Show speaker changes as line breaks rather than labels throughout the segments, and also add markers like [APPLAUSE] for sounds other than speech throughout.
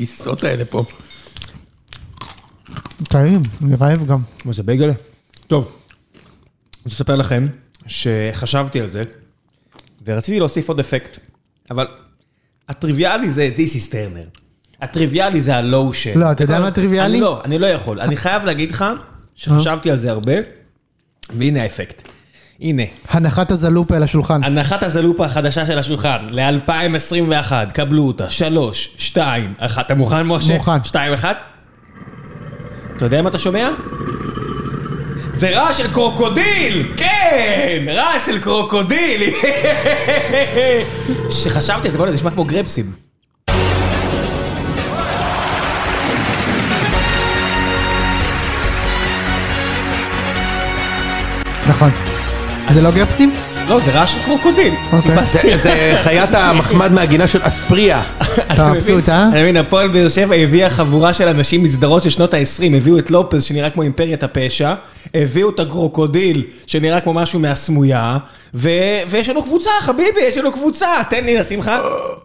הטיסות האלה פה.
טעים, אני רעב גם.
מה זה בייגלה?
טוב, אני
אני רוצה לספר לכם שחשבתי על זה, ורציתי להוסיף עוד אפקט, אבל הטריוויאלי זה This is Turner. הטריוויאלי זה הלואו של.
לא, אתה יודע
זה
מה אה?
כל-
טריוויאלי?
אני לא, אני לא יכול. אני חייב להגיד לך שחשבתי על זה הרבה, והנה האפקט. הנה,
הנחת הזלופה על השולחן.
הנחת הזלופה החדשה של השולחן ל-2021, קבלו אותה, שלוש, שתיים, אחת. אתה מוכן, משה?
מוכן.
שתיים, אחת? אתה יודע מה אתה שומע? זה רעש של קרוקודיל! כן! רעש של קרוקודיל! [LAUGHS] שחשבתי על זה, בוא'נה, זה נשמע כמו גרפסים.
נכון. זה לא גרפסים?
לא, זה רעש של קרוקודיל.
אוקיי.
זה,
חיפשתי.
זה חיית המחמד מהגינה של אספריה.
אתה מבסוט, אה?
אני מבין, הפועל באר שבע הביאה חבורה של אנשים מסדרות של שנות ה-20, הביאו את לופז שנראה כמו אימפריית הפשע, הביאו את הגרוקודיל שנראה כמו משהו מהסמויה, ו... ויש לנו קבוצה, חביבי, יש לנו קבוצה, תן לי לשים לך...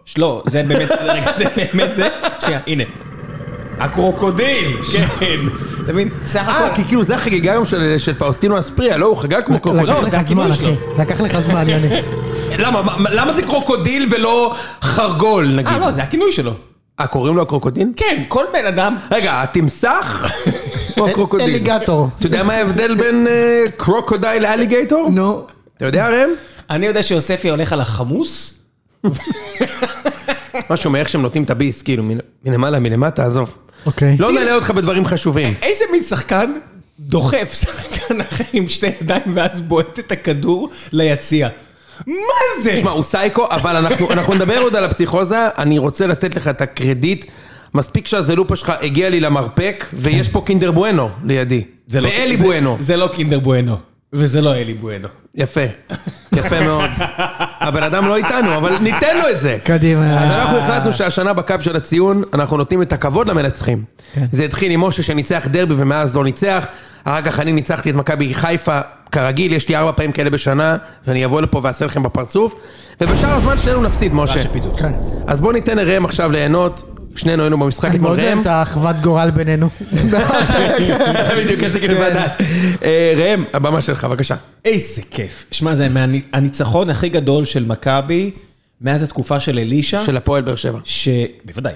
ש- לא, זה באמת, זה רגע, זה באמת זה, שנייה, הנה. הקרוקודיל, כן, אתה מבין? סך
אה,
הכל...
כי כאילו זה החגיגה גם של, של פאוסטינו אספריה, לא, הוא חגג כמו קרוקודיל.
לקח
זה
לך זמן,
הכינוי שלו.
אחי. לקח לך
[LAUGHS]
זמן, יוני.
למה, מה- למה זה קרוקודיל ולא חרגול, נגיד?
אה, לא, זה הכינוי שלו.
אה, קוראים לו הקרוקודיל?
כן, כל בן אדם...
רגע,
[LAUGHS]
התמסך או הקרוקודיל?
אליגטור.
אתה יודע מה ההבדל בין אה, קרוקודייל לאליגייטור?
נו.
אתה יודע,
[LAUGHS]
ראם?
אני יודע שיוספי הולך על החמוס,
משהו מאיך שהם נותנים את הביס, כאילו, מן- מלמעלה, מלמטה, עזוב.
אוקיי.
כאילו-
לא נעלה אותך בדברים חשובים.
איזה מין שחקן דוחף שחקן אחר עם שתי ידיים ואז בועט את הכדור ליציע? מה זה?
תשמע, הוא סייקו, אבל אנחנו, אנחנו נדבר עוד על הפסיכוזה, אני רוצה לתת לך את הקרדיט. מספיק שהזלופה שלך הגיע לי למרפק, ויש פה קינדר בואנו לידי.
זה לא-
ואלי
זה-
בואנו.
זה לא קינדר בואנו, וזה לא אלי בואנו.
יפה. יפה מאוד. הבן אדם לא איתנו, אבל ניתן לו את זה.
כן.
אז
קדימה.
אנחנו החלטנו שהשנה בקו של הציון, אנחנו נותנים את הכבוד למנצחים. זה התחיל עם משה שניצח דרבי ומאז לא ניצח, אחר כך אני ניצחתי את מכבי חיפה, כרגיל, יש לי ארבע פעמים כאלה בשנה, ואני אבוא לפה ואעשה לכם בפרצוף, ובשאר הזמן שנינו נפסיד, משה.
שפיצוץ.
כן.
אז בואו ניתן לראם עכשיו ליהנות, שנינו היינו במשחק
אני
אתמול
מאוד אוהב
ראם. אה.
את האחוות גורל בינינו.
[LAUGHS] בדיוק איזה כאילו
כן.
ועדת. אה, ראם, הבמה שלך, בבקשה.
איזה כיף. שמע, זה מהני- הניצחון הכי גדול של מכבי מאז התקופה של אלישע,
של הפועל באר שבע.
ש... בוודאי,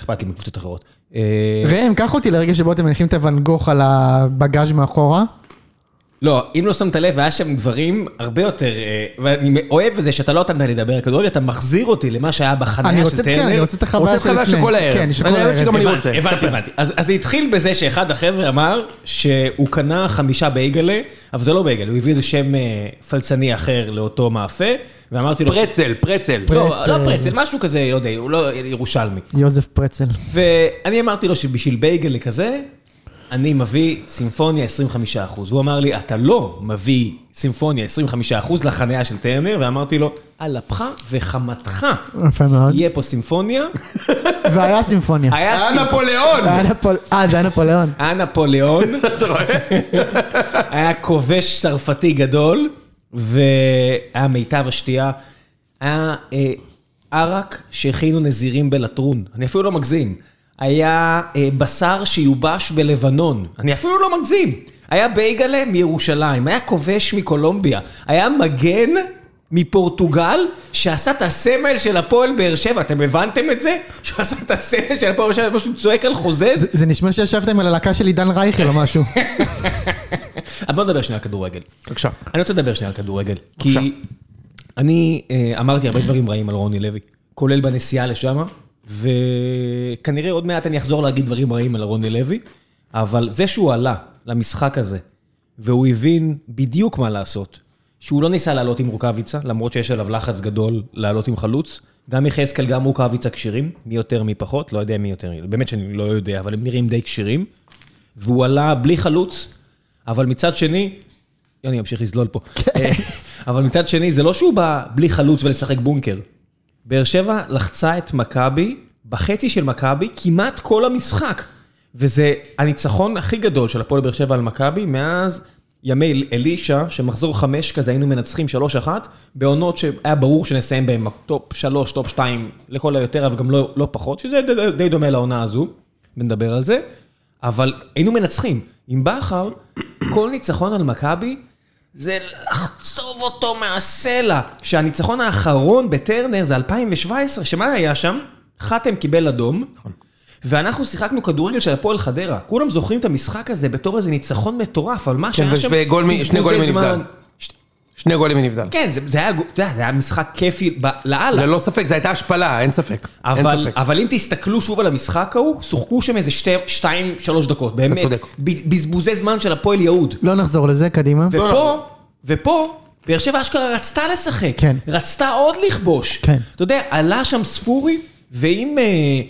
אכפת לי מקבוצות אחרות. אה,
ראם, קח אותי לרגע שבו אתם מניחים את הוואן גוך על הבגאז' מאחורה.
לא, אם לא שמת לב, היה שם דברים הרבה יותר... אה, ואני אוהב את זה שאתה לא נתת לי לדבר על כדורגל, אתה מחזיר אותי למה שהיה
אני
בחניה של
רוצה,
טרנר.
כן, אני רוצה את
רוצה
החוויה
את
של
החוויה
לפני.
של כל הערב.
כן, של
אני
כל
אוהב שגם
הערב.
אני
הבנתי,
רוצה,
הבנתי,
תספר.
הבנתי. אז אז זה התחיל בזה שאחד החבר'ה אמר שהוא קנה חמישה בייגלה, אבל זה לא בייגלה, הוא הביא איזה שם אה, פלצני אחר לאותו מאפה, ואמרתי לו...
פרצל, פרצל.
לא, לא
פרצל.
פרצל, משהו כזה, לא יודע, הוא לא ירושלמי.
יוזף פרצל.
ואני אמרתי לו שבשביל בייגלה כזה, אני מביא סימפוניה 25%. והוא אמר לי, אתה לא מביא סימפוניה 25% לחניה של טרנר, ואמרתי לו, על אפך וחמתך
יפה מאוד.
יהיה פה סימפוניה.
[LAUGHS] והיה סימפוניה.
[LAUGHS]
היה
היה
סימפוניה.
נפוליאון!
[LAUGHS]
היה נפול- אה, זה היה נפוליאון.
היה נפוליאון,
אתה רואה?
היה כובש צרפתי גדול, והיה מיטב השתייה. היה אה, ערק שהכינו נזירים בלטרון, אני אפילו לא מגזים. היה אה, בשר שיובש בלבנון, אני אפילו לא מגזים. היה בייגלה מירושלים, היה כובש מקולומביה, היה מגן מפורטוגל שעשה את הסמל של הפועל באר שבע, אתם הבנתם את זה? שהוא עשה את הסמל של הפועל באר שבע, פשוט צועק על חוזז,
זה- זה נשמע שישבתם על הלהקה של עידן רייכל או משהו.
אז בוא נדבר שנייה על כדורגל.
בבקשה.
אני רוצה לדבר שנייה על כדורגל. כי
בבקשה.
אני אה, אמרתי הרבה דברים רעים על רוני לוי, כולל בנסיעה לשם, וכנראה עוד מעט אני אחזור להגיד דברים רעים על רוני לוי, אבל זה שהוא עלה למשחק הזה, והוא הבין בדיוק מה לעשות, שהוא לא ניסה לעלות עם רוקאביצה, למרות שיש עליו לחץ גדול לעלות עם חלוץ. גם יחזקאל, גם רוקאביצה כשירים, מי יותר מי פחות, לא יודע מי יותר, באמת שאני לא יודע, אבל הם נראים די כשירים. והוא עלה בלי חלוץ, אבל מצד שני, יוני ימשיך לזלול פה, אה, אבל מצד שני, זה לא שהוא בא בלי חלוץ ולשחק בונקר. באר שבע לחצה את מכבי, בחצי של מכבי, כמעט כל המשחק. וזה הניצחון הכי גדול של הפועל באר שבע על מכבי מאז ימי אלישע, שמחזור חמש כזה היינו מנצחים 3-1, בעונות שהיה ברור שנסיים בהן טופ 3, טופ 2, לכל היותר, אבל גם לא, לא פחות, שזה די, די דומה לעונה הזו, ונדבר על זה, אבל היינו מנצחים. עם בכר, כל ניצחון על מכבי, זה לחצוב אותו מהסלע. שהניצחון האחרון בטרנר זה 2017, שמה היה שם? חתם קיבל אדום.
נכון.
ואנחנו שיחקנו כדורגל של הפועל חדרה. כולם זוכרים את המשחק הזה בתור איזה ניצחון מטורף, אבל מה שהיה שם...
וגול כן, מ- שני גולים
בזבוזי זמן.
מנבדל. שני גולים מנבדל.
כן, זה, זה, היה, גו- אתה יודע, זה היה משחק כיפי ב- לאללה.
ללא ספק, זו הייתה השפלה, אין ספק. אין
אבל,
ספק.
אבל אם תסתכלו שוב על המשחק ההוא, שוחקו שם איזה שתי, שתיים, שלוש דקות, באמת.
צודק.
ב- בזבוזי זמן של הפועל יהוד.
לא נחזור לזה, קדימה.
לא
ופה,
נכון.
ופה, באר שבע אשכרה רצתה לשחק.
כן.
רצתה עוד לכבוש.
כן.
אתה יודע, עלה שם ספורי, ואם אה,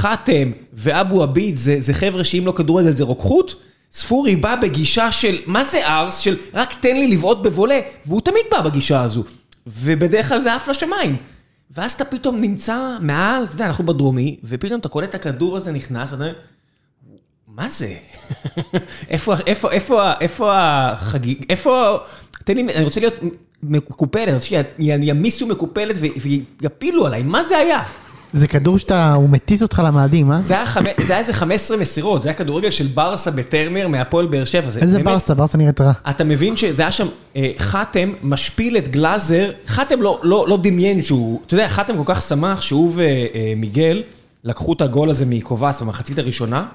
חתם ואבו עביד זה, זה חבר'ה שאם לא כדורגל זה רוקחות, ספורי בא בגישה של מה זה ארס? של רק תן לי לבעוט בבולה, והוא תמיד בא בגישה הזו. ובדרך כלל זה עף לשמיים. ואז אתה פתאום נמצא מעל, אתה יודע, אנחנו בדרומי, ופתאום אתה קולט את הכדור הזה נכנס, ואתה אומר, מה זה? [LAUGHS] איפה, איפה, איפה, ה- איפה החגיג, איפה, תן לי, אני רוצה להיות מקופלת, אני רוצה שימיסו מקופלת ו- ויפילו עליי, מה זה היה?
זה כדור שאתה, הוא מטיס אותך למאדים, אה?
זה היה, חמ... זה היה איזה 15 מסירות, זה היה כדורגל של ברסה בטרנר מהפועל באר שבע. זה
איזה
באמת-
ברסה, ברסה נראית רע.
אתה מבין שזה היה שם, אה, חתם משפיל את גלאזר, חתם לא, לא, לא דמיין שהוא, אתה יודע, חתם כל כך שמח שהוא ומיגל לקחו את הגול הזה מקובס במחצית הראשונה.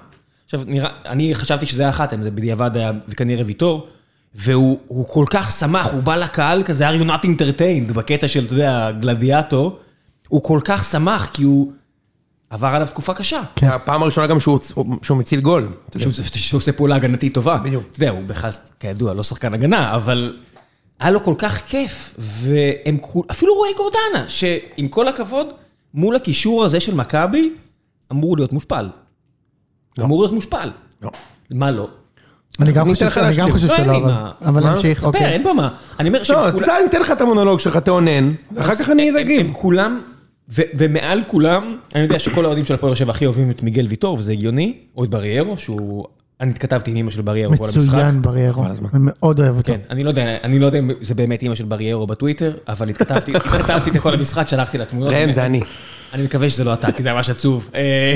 עכשיו, נראה, אני חשבתי שזה היה חתם, זה בדיעבד היה, זה כנראה ויטור, והוא הוא כל כך שמח, הוא בא לקהל כזה, are you not entertained, בקטע של, אתה יודע, גלדיאטור, הוא כל כך שמח כי הוא עבר עליו תקופה קשה.
כן.
הפעם הראשונה גם שהוא שהוא מציל גול.
שהוא שהוא עושה פעולה הגנתית טובה.
בדיוק.
אתה יודע, הוא בכלל, כידוע, לא שחקן הגנה, אבל היה לו כל כך כיף. והם כול- אפילו רועי גורדנה, שעם כל הכבוד, מול הקישור הזה של מכבי, אמור להיות מושפל. אמור להיות מושפל.
לא.
מה לא?
אני גם
אני
חושב
אתן לך
שלא, אני
להשלים.
גם חושב
לא, אין
שלא,
לי
אבל-
מה.
אבל
מה?
נמשיך,
ספר,
אוקיי.
אין במה. אני אומר
לא, אתה
שכולם-
יודע, אני אתן לך את המונולוג שלך, תאונן, ואחר כך אני
הם-
אגיב.
הם כולם, ו- ומעל כולם, אני יודע שכל האוהדים של הפועל באר שבע הכי אוהבים את מיגל ויטור, וזה הגיוני, או את בריירו, שהוא... אני התכתבתי עם אמא של בריירו כל המשחק.
מצוין בריירו,
חבל הזמן.
אני מאוד אוהב אותו.
כן, אני לא יודע, אני לא יודע אם זה באמת אימא של בריירו בטוויטר,
[LAUGHS]
אבל התכתבתי, התכתבתי את כל המשחק, שלחתי לה תמונות.
ראם, זה אני.
אני מקווה שזה לא אתה, כי זה ממש עצוב. אה,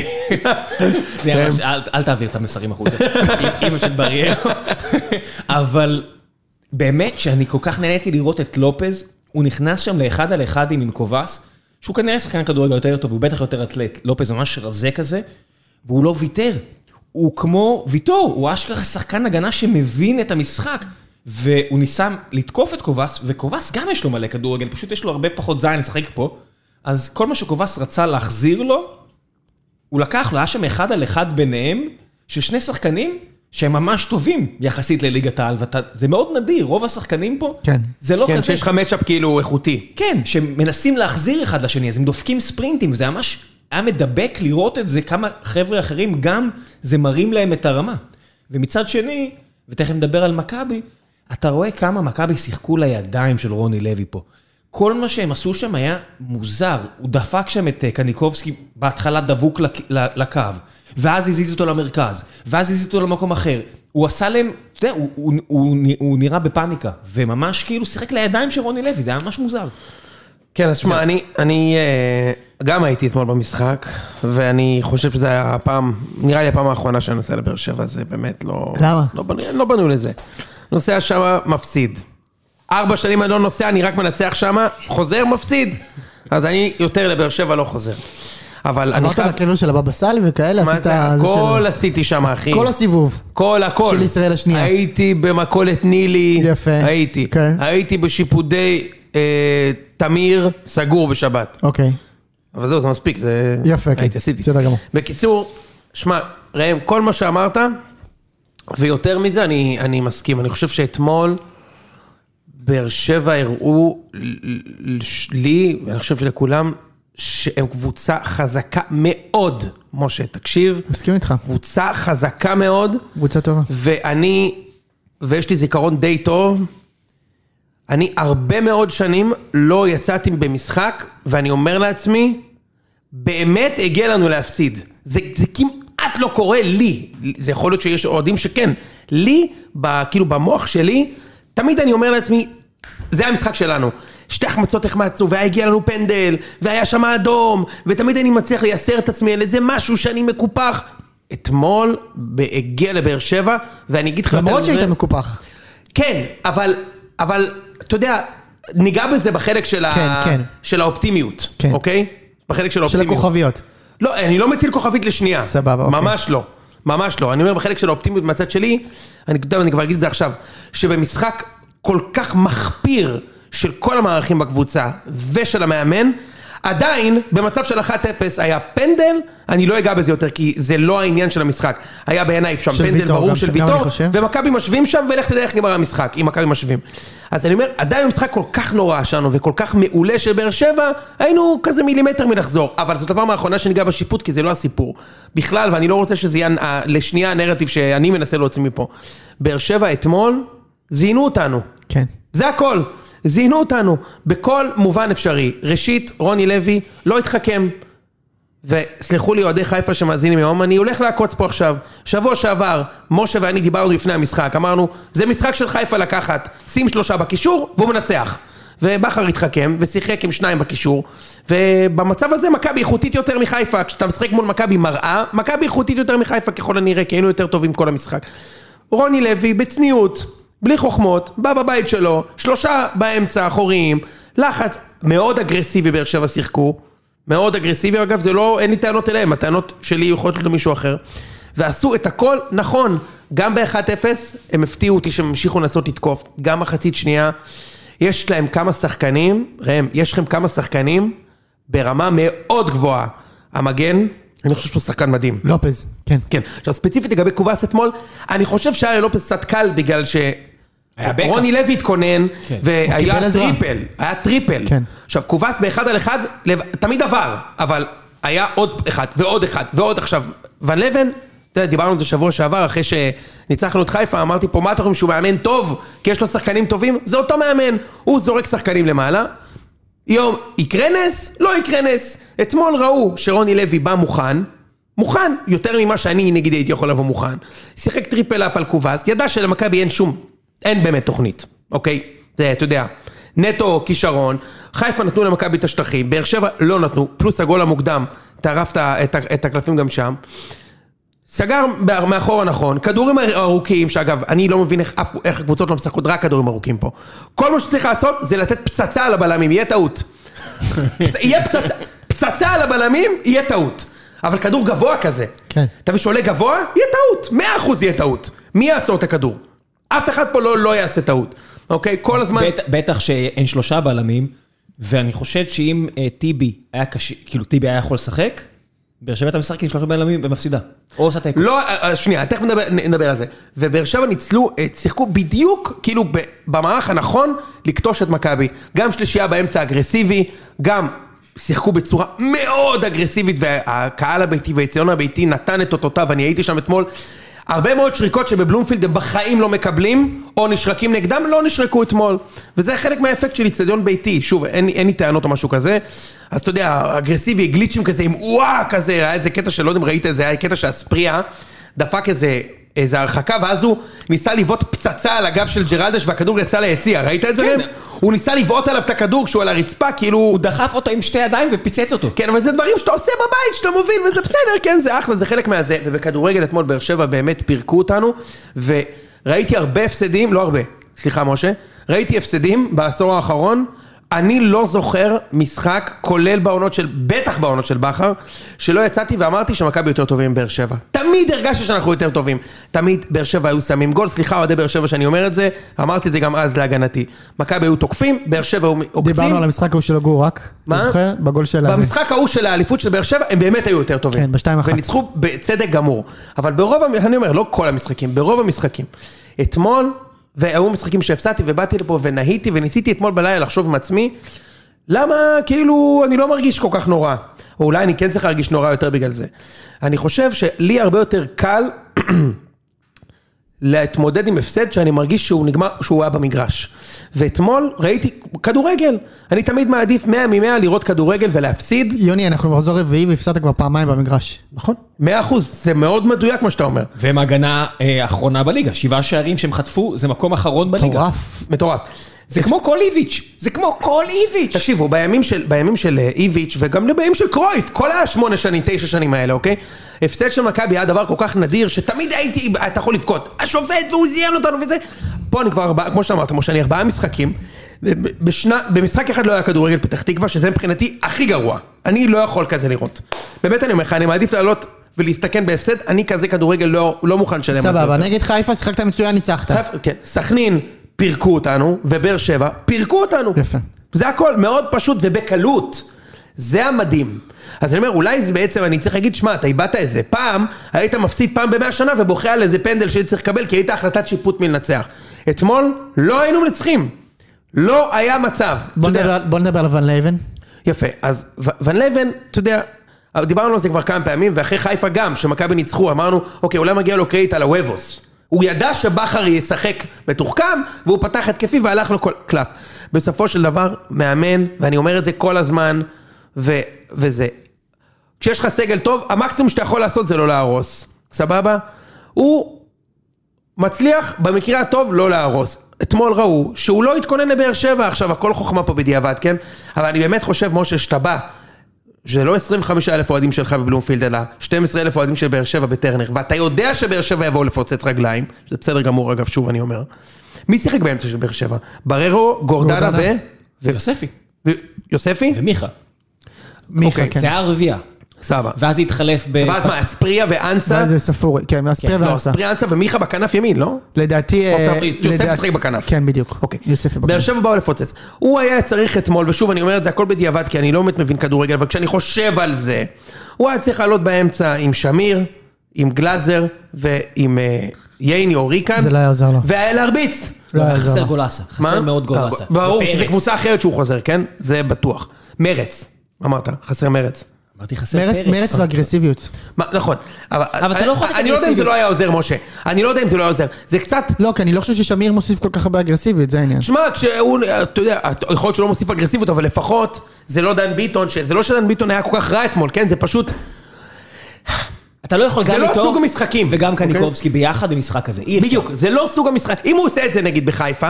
זה היה ממש, אל- אל תעביר את
[LAUGHS]
המסרים החוצה. אימא של בריירו. אבל באמת שאני כל כך נהניתי לראות את לופז, הוא נכנס שם לאחד על אחד עם קובס, שהוא כנראה שחקן כדורגל יותר טוב, הוא בטח יותר אתלט, לופז ממש רזה כזה, והוא לא ויתר. הוא כמו ויטור, הוא אשכרה שחקן הגנה שמבין את המשחק. והוא ניסה לתקוף את קובס, וקובס גם יש לו מלא כדורגל, פשוט יש לו הרבה פחות זין לשחק פה. אז כל מה שקובס רצה להחזיר לו, הוא לקח לו, היה שם אחד על אחד ביניהם, של שני שחקנים שהם ממש טובים יחסית לליגת העל, ואתה- זה מאוד נדיר, רוב השחקנים פה,
כן.
זה לא
כן,
כזה,
שיש לך מצ'אפ כאילו איכותי.
כן, שמנסים להחזיר אחד לשני, אז הם דופקים ספרינטים, זה ממש היה מדבק לראות את זה, כמה חבר'ה אחרים גם, זה מרים להם את הרמה. ומצד שני, ותכף נדבר על מכבי, אתה רואה כמה מכבי שיחקו לידיים של רוני לוי פה. כל מה שהם עשו שם היה מוזר, הוא דפק שם את אה, קניקובסקי בהתחלה דבוק לק- ל- לקו, ואז הזיז אותו למרכז, ואז הזיז אותו למקום אחר. הוא עשה להם, אתה יודע, הוא, הוא, הוא, הוא נראה בפאניקה, וממש כאילו שיחק לידיים של רוני לוי, זה היה ממש מוזר.
כן, אז שמע, אני- אני אה, גם הייתי אתמול במשחק, ואני חושב שזה היה הפעם, נראה לי הפעם האחרונה שאני נוסע לבאר שבע, זה באמת לא...
למה?
לא בנו- לא בנו לזה. נוסע שמה, מפסיד. ארבע שנים אני לא נוסע, אני רק מנצח שמה, חוזר, מפסיד. אז אני יותר לבאר שבע לא חוזר. אבל אני
עברת
חייב...
לקבר של הבבא סאלי וכאלה,
מה
עשית...
זה?
זה
הכל
של-
עשיתי שם, אחי.
כל הסיבוב.
כל הכל.
של ישראל השנייה.
הייתי במכולת נילי.
יפה.
הייתי.
כן.
הייתי בשיפודי אה, תמיר סגור בשבת.
אוקיי.
אבל זהו, זה מספיק, זה...
יפה, כן.
הייתי, עשיתי.
בסדר גמור.
בקיצור, שמע, ראם, כל מה שאמרת, ויותר מזה, אני, אני מסכים. אני חושב שאתמול באר שבע הראו ל- ל- ש- לי, ואני חושב שלכולם, שהם קבוצה חזקה מאוד. משה, תקשיב.
מסכים איתך.
קבוצה חזקה מאוד,
קבוצה טובה.
ואני, ויש לי זיכרון די טוב, אני הרבה מאוד שנים לא יצאתי במשחק, ואני אומר לעצמי, באמת הגיע לנו להפסיד. זה, זה כמעט כמעט לא קורה לי, זה יכול להיות שיש אוהדים שכן, לי, ב, כאילו במוח שלי, תמיד אני אומר לעצמי, זה המשחק שלנו. שתי החמצות החמצנו, והיה הגיע לנו פנדל, והיה שם אדום, ותמיד אני מצליח לייסר את עצמי על איזה משהו שאני מקופח. אתמול ב- הגיע לבאר שבע, ואני אגיד לך... יותר
למרות
מזה-
שהיית מקופח.
כן, אבל, אבל, אתה יודע, ניגע בזה בחלק של,
כן,
ה...
כן.
של האופטימיות,
כן.
אוקיי? בחלק של
של
האופטימיות.
הכוכביות.
לא, אני לא מטיל כוכבית לשנייה.
סבבה, אוקיי.
ממש לא. ממש לא. אני אומר, בחלק של האופטימיות מהצד שלי, אני, אתה יודע, אני כבר אגיד את זה עכשיו, שבמשחק כל כך מחפיר של כל המערכים בקבוצה ושל המאמן, עדיין, במצב של 1-0 היה פנדל, אני לא אגע בזה יותר, כי זה לא העניין של המשחק. היה בעיניי שם
של
פנדל
ויטור
ברור
גם,
של
גם אני
ויטור,
חושב.
ומכבי משווים שם, ולך תדע איך נגמר המשחק, אם מכבי משווים. אז אני אומר, עדיין המשחק כל כך נורא שלנו, וכל כך מעולה של באר שבע, היינו כזה מילימטר מלחזור. אבל זאת הפעם האחרונה שניגע בשיפוט, כי זה לא הסיפור. בכלל, ואני לא רוצה שזה יהיה אה, לשנייה הנרטיב שאני מנסה להוציא מפה. באר שבע אתמול, זיינו אותנו.
כן.
זה הכל. זיינו אותנו בכל מובן אפשרי. ראשית, רוני לוי לא התחכם. וסלחו לי אוהדי חיפה שמאזינים היום, אני הולך לעקוץ פה עכשיו. שבוע שעבר, משה ואני דיברנו לפני המשחק, אמרנו, זה משחק של חיפה לקחת, שים שלושה בקישור, והוא מנצח. ובכר התחכם, ושיחק עם שניים בקישור, ובמצב הזה מכבי איכותית יותר מחיפה, כשאתה משחק מול מכבי מראה, מכבי איכותית יותר מחיפה ככל הנראה, כי היינו יותר טובים כל המשחק. רוני לוי, בצניעות, בלי חוכמות, בא בבית שלו, שלושה באמצע, אחוריים, לחץ, מאוד אגרסיבי באר שבע שיחקו. מאוד אגרסיבי, אגב, זה לא, אין לי טענות אליהם, הטענות שלי יכולות להיות למישהו אחר. ועשו את הכל נכון, גם ב-1-0, הם הפתיעו אותי שהם המשיכו לנסות לתקוף, גם מחצית שנייה, יש להם כמה שחקנים, ראם, יש לכם כמה שחקנים ברמה מאוד גבוהה. המגן, אני חושב שהוא שחקן מדהים.
לופז. כן.
כן, עכשיו ספציפית לגבי קובאס אתמול, אני חושב שהיה ללופס קצת קל בגלל ש...
היה בקע.
רוני לוי התכונן,
הוא
כן.
קיבל
והיה
עזרה.
טריפל, היה טריפל.
כן.
עכשיו, קובאס באחד על אחד, לב- תמיד עבר, אבל היה עוד אחד, ועוד אחד, ועוד עכשיו. ון לבן, אתה יודע, דיברנו על זה שבוע שעבר, אחרי שניצחנו את חיפה, אמרתי פה, מה אתם חושבים, שהוא מאמן טוב, כי יש לו שחקנים טובים? זה אותו מאמן, הוא זורק שחקנים למעלה. יום, יקרה נס? לא יקרה נס. אתמול ראו שרוני לוי בא מוכן, מוכן, יותר ממה שאני נגיד הייתי יכול לבוא מוכן. שיחק טריפל אפ על קובאס, ידע שלמכבי אין שום, אין באמת תוכנית, אוקיי? זה, אתה יודע, נטו כישרון, חיפה נתנו למכבי את השטחים, באר שבע לא נתנו, פלוס הגול המוקדם, טרף את ה- את ה- את הקלפים גם שם. סגר בא- מאחורה נכון, כדורים אר- ארוכים, שאגב, אני לא מבין איך, אף- איך הקבוצות לא משחקות רק כדורים ארוכים פה. כל מה שצריך לעשות זה לתת פצצה על הבלמים, יהיה טעות. פצ- יהיה פצצה, פצצה על הבלמים, יהיה טעות. אבל כדור גבוה כזה.
כן.
אתה מבין שעולה גבוה, יהיה טעות. מאה אחוז יהיה טעות. מי יעצור את הכדור? אף אחד פה לא, לא יעשה טעות. אוקיי? כל הזמן...
בטח- בטח שאין שלושה בלמים, ואני חושב שאם אה, טיבי היה קשה, כאילו טיבי היה יכול לשחק, באר שבע אתה משחק עם שלושה בלמים ומפסידה. או עושה תיקו.
לא, אה, אה, שנייה, תכף נדבר, נ- נדבר על זה. ובאר שבע ניצלו, אה, שיחקו בדיוק, כאילו, ב- במערך הנכון, לכתוש את מכבי. גם שלישייה באמצע אגרסיבי, גם שיחקו בצורה מאוד אגרסיבית, והקהל הביתי והיציון הביתי נתן את אותותיו, אני הייתי שם אתמול. הרבה מאוד שריקות שבבלומפילד הם בחיים לא מקבלים, או נשרקים נגדם, לא נשרקו אתמול. וזה חלק מהאפקט של איצטדיון ביתי. שוב, אין, לי- אין לי טענות או משהו כזה. אז אתה יודע, אגרסיבי, גליצ'ים כזה עם וואה כזה, היה איזה קטע שלא יודע אם ראית את זה, היה קטע שהספריה דפק איזה, איזה הרחקה, ואז הוא ניסה לבעוט פצצה על הגב של ג'רלדש והכדור יצא ליציע, ראית את זה?
כן.
ראם? הוא ניסה לבעוט עליו את הכדור כשהוא על הרצפה, כאילו...
הוא דחף אותו עם שתי ידיים ופיצץ אותו.
כן, אבל זה דברים שאתה עושה בבית, שאתה מוביל, וזה בסדר, כן, זה אחלה, זה חלק מהזה. ובכדורגל אתמול באר שבע באמת פירקו אותנו, וראיתי הרבה הפסדים, לא הרבה, סליחה משה, ראיתי הפסדים בעשור האחרון. אני לא זוכר משחק, כולל בעונות של, בטח בעונות של בכר, שלא יצאתי ואמרתי שמכבי יותר טובים מבאר שבע. תמיד הרגשתי שאנחנו יותר טובים. תמיד באר שבע היו שמים גול, סליחה אוהדי באר שבע שאני אומר את זה, אמרתי את זה גם אז להגנתי. מכבי היו תוקפים, באר שבע היו עוקצים.
דיברנו על המשחק ההוא של הגורק.
מה?
אתה זוכר? בגול של... הזה.
במשחק ההוא של האליפות של באר שבע, הם באמת היו יותר טובים.
כן, בשתיים אחת.
וניצחו בצדק גמור. אבל ברוב, המ- אני אומר, לא כל המשחקים, ברוב המשחקים. אתמול, והיו משחקים שהפסדתי ובאתי לפה ונהיתי וניסיתי אתמול בלילה לחשוב עם עצמי, למה כאילו אני לא מרגיש כל כך נורא? או אולי אני כן צריך להרגיש נורא יותר בגלל זה. אני חושב שלי הרבה יותר קל [CLEARS THROAT] להתמודד עם הפסד שאני מרגיש שהוא נגמר, שהוא היה במגרש. ואתמול ראיתי כדורגל. אני תמיד מעדיף 100 מ-100 לראות כדורגל ולהפסיד.
יוני, אנחנו במחזור רביעי והפסדת כבר פעמיים במגרש.
נכון. 100 אחוז, זה מאוד מדויק מה שאתה אומר.
והם הגנה אה, אחרונה בליגה, שבעה שערים שהם חטפו, זה מקום אחרון בליגה.
מטורף.
מטורף.
זה כמו כל איביץ', זה כמו כל איביץ'.
תקשיבו, בימים של, בימים של אה, איביץ' וגם בימים של קרויף, כל השמונה שנים, תשע שנים האלה, אוקיי? הפסד של מכבי היה דבר כל כך נדיר, שתמיד הייתי, אתה יכול לבכות, השופט והוא זיין אותנו וזה. פה אני כבר ארבעה, כמו שאמרת, משה, אני ארבעה משחקים. ב- בשנה, במשחק אחד לא היה כדורגל פתח תקווה, שזה מבחינתי הכי גרוע. אני לא יכול כזה לראות. באמת אני אומר לך, אני מעדיף לעלות ולהסתכן בהפסד, אני כזה כדורגל לא, לא מוכן לשלם על זה יותר.
סבבה, נגד חיפה שיחקת מצוין, ניצחת.
חיפ- כן, סכנין פירקו אותנו, ובאר שבע פירקו אותנו.
יפה.
זה הכל, מאוד פשוט ובקלות. זה המדהים. אז אני אומר, אולי זה בעצם, אני צריך להגיד, שמע, אתה איבדת את זה. פעם, היית מפסיד פעם במאה שנה ובוכה על איזה פנדל שהיית צריך לקבל, כי היית החלטת שיפוט מלנצח. אתמול, לא היינו מנצחים. לא היה מצב.
בוא
אתה יודע,
נדבר על- בוא נדבר על ון לייבן.
יפה, אז ו- ון לבן, אתה יודע, דיברנו על זה כבר כמה פעמים, ואחרי חיפה גם, שמכבי ניצחו, אמרנו, אוקיי, אולי מגיע לו קרדיט על הוובוס. הוא ידע שבכר ישחק מתוחכם, והוא פתח התקפי והלך לו כל קלף. בסופו של דבר, מאמן, ואני אומר את זה כל הזמן, ו- וזה, כשיש לך סגל טוב, המקסימום שאתה יכול לעשות זה לא להרוס, סבבה? הוא מצליח במקרה הטוב לא להרוס. אתמול ראו שהוא לא התכונן לבאר שבע, עכשיו הכל חוכמה פה בדיעבד, כן? אבל אני באמת חושב, משה, שאתה בא, זה לא 25 אלף אוהדים שלך בבלומפילד, אלא 12 אלף אוהדים של באר שבע בטרנר, ואתה יודע שבאר שבע יבואו לפוצץ רגליים, שזה בסדר גמור אגב, שוב אני אומר. מי שיחק באמצע של באר שבע? בררו, גורדנה ו...
גורדנה.
ו...
יוספי.
ו... יוספי?
ומיכה.
מיכה,
אוקיי,
כן.
זה היה הרביעייה.
סבבה.
ואז זה התחלף ב...
ואז מה, אספריה ואנסה?
ואז זה ספורי, כן, ואז פריה
לא,
ואנסה.
אספריה אנסה ומיכה בכנף ימין, לא?
לדעתי... אה,
עושה- יוסף
לדע-
משחק בכנף.
כן, בדיוק.
אוקיי.
יוסף
באר
בכנף.
שבע באו לפוצץ. הוא היה צריך אתמול, ושוב אני אומר את זה הכל בדיעבד, כי אני לא באמת מבין כדורגל, אבל כשאני חושב על זה, הוא היה צריך לעלות באמצע עם שמיר, עם גלאזר ועם אה, ייני או ריקן.
זה לא היה עוזר לו.
והיה להרביץ.
לא יעזור.
חסר גולאסה.
מה?
חסר מאוד גולאסה.
אה, ברור
ופרץ.
שזו קבוצה אחרת שהוא חוזר, כן? זה בטוח. מרץ, אמרת, חסר מרץ.
אמרתי חסר
מרץ,
פרץ.
מרץ
אוקיי.
ואגרסיביות.
מה, נכון, אבל,
אבל אתה לא יכול לתת
אני לא יודע אם זה
אגרסיביות.
לא היה עוזר, משה. אני לא יודע אם זה לא היה עוזר. זה קצת
לא, כי אני לא חושב ששמיר מוסיף כל כך הרבה אגרסיביות, זה העניין.
תשמע, כשהוא, אתה יודע, יכול להיות שהוא לא מוסיף אגרסיביות, אבל לפחות זה לא דן ביטון, ש- זה לא שדן ביטון היה כל כך רע אתמול, כן? זה פשוט,
אתה לא יכול
זה
גם
לא
איתו...
סוג המשחקים.
וגם
אוקיי.
קניקובסקי ביחד במשחק הזה. אי אפשר.
בדיוק, זה לא סוג המשחק. אם הוא עושה את זה נגיד בחיפה,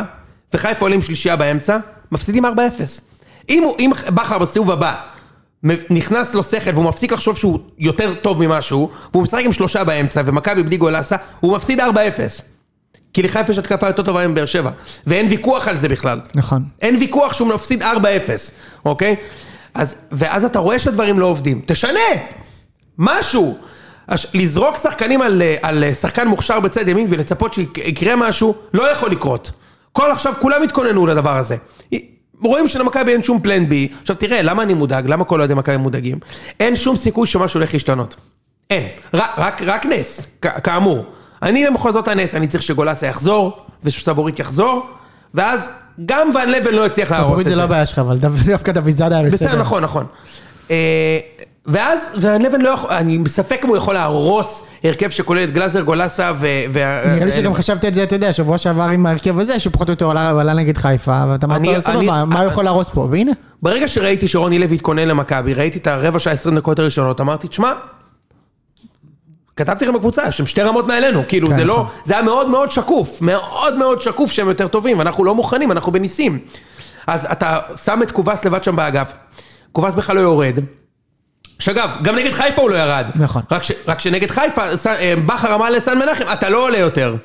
וחיפה עולים שלישייה באמצע, מפסידים 4-0. אם, הוא- אם בכר בסיבוב הבא מ- נכנס לו שכל והוא מפסיק לחשוב שהוא יותר טוב ממשהו, והוא משחק עם שלושה באמצע ומכבי בלי גולסה, הוא מפסיד 4-0. כי לחיפה יש התקפה יותר טובה מבאר שבע, ואין ויכוח על זה בכלל.
נכון.
אין ויכוח שהוא מפסיד 4-0, אוקיי? אז, ואז אתה רואה שהדברים לא עובדים. תשנה! משהו! הש- לזרוק שחקנים על, אה, על אה, שחקן מוכשר בצד ימין ולצפות שיקרה משהו, לא יכול לקרות. כל עכשיו, כולם התכוננו לדבר הזה. רואים שלמכבי אין שום פלן בי. עכשיו תראה, למה אני מודאג? למה כל אוהדי מכבי מודאגים? אין שום סיכוי שמשהו הולך להשתנות. אין. רק, רק, רק נס, כ- כאמור. אני בכל זאת הנס, אני צריך שגולסה יחזור, ושסבורית יחזור, ואז גם ון לבן לא יצליח להרוס את
ספורית
זה.
זה לא הבעיה שלך, אבל דו- דווקא דויזאדה היה בסדר.
בסדר, נכון, נכון. אה, ואז, ון לבן לא יכול, אני בספק אם הוא יכול להרוס הרכב שכולל את גלאזר, גולסה ו... אה, ו-
נראה לי שגם חשבתי את זה, אתה יודע, שבוע שעבר עם ההרכב הזה, שהוא פחות או יותר עלה עלה נגד חיפה, ואתה אמרת,
אני- אני-
סבבה, מה הוא יכול להרוס פה? והנה,
ברגע שראיתי שרוני לוי התכונן למכבי, ראיתי את הרבע שעה 20 דקות הראשונות, אמרתי, תשמע, כתבתי לכם בקבוצה, שהם שתי רמות מעלינו, כאילו
כן,
זה לא,
נכון.
זה היה מאוד מאוד שקוף, מאוד מאוד שקוף שהם יותר טובים, אנחנו לא מוכנים, אנחנו בניסים. אז אתה שם את קובס לבד שם באגף, קובס בכלל לא יורד. שאגב, גם נגד חיפה הוא לא ירד.
נכון.
רק, ש, רק שנגד חיפה, ס- אה, בכר אמר לסן מנחם, אתה לא עולה יותר.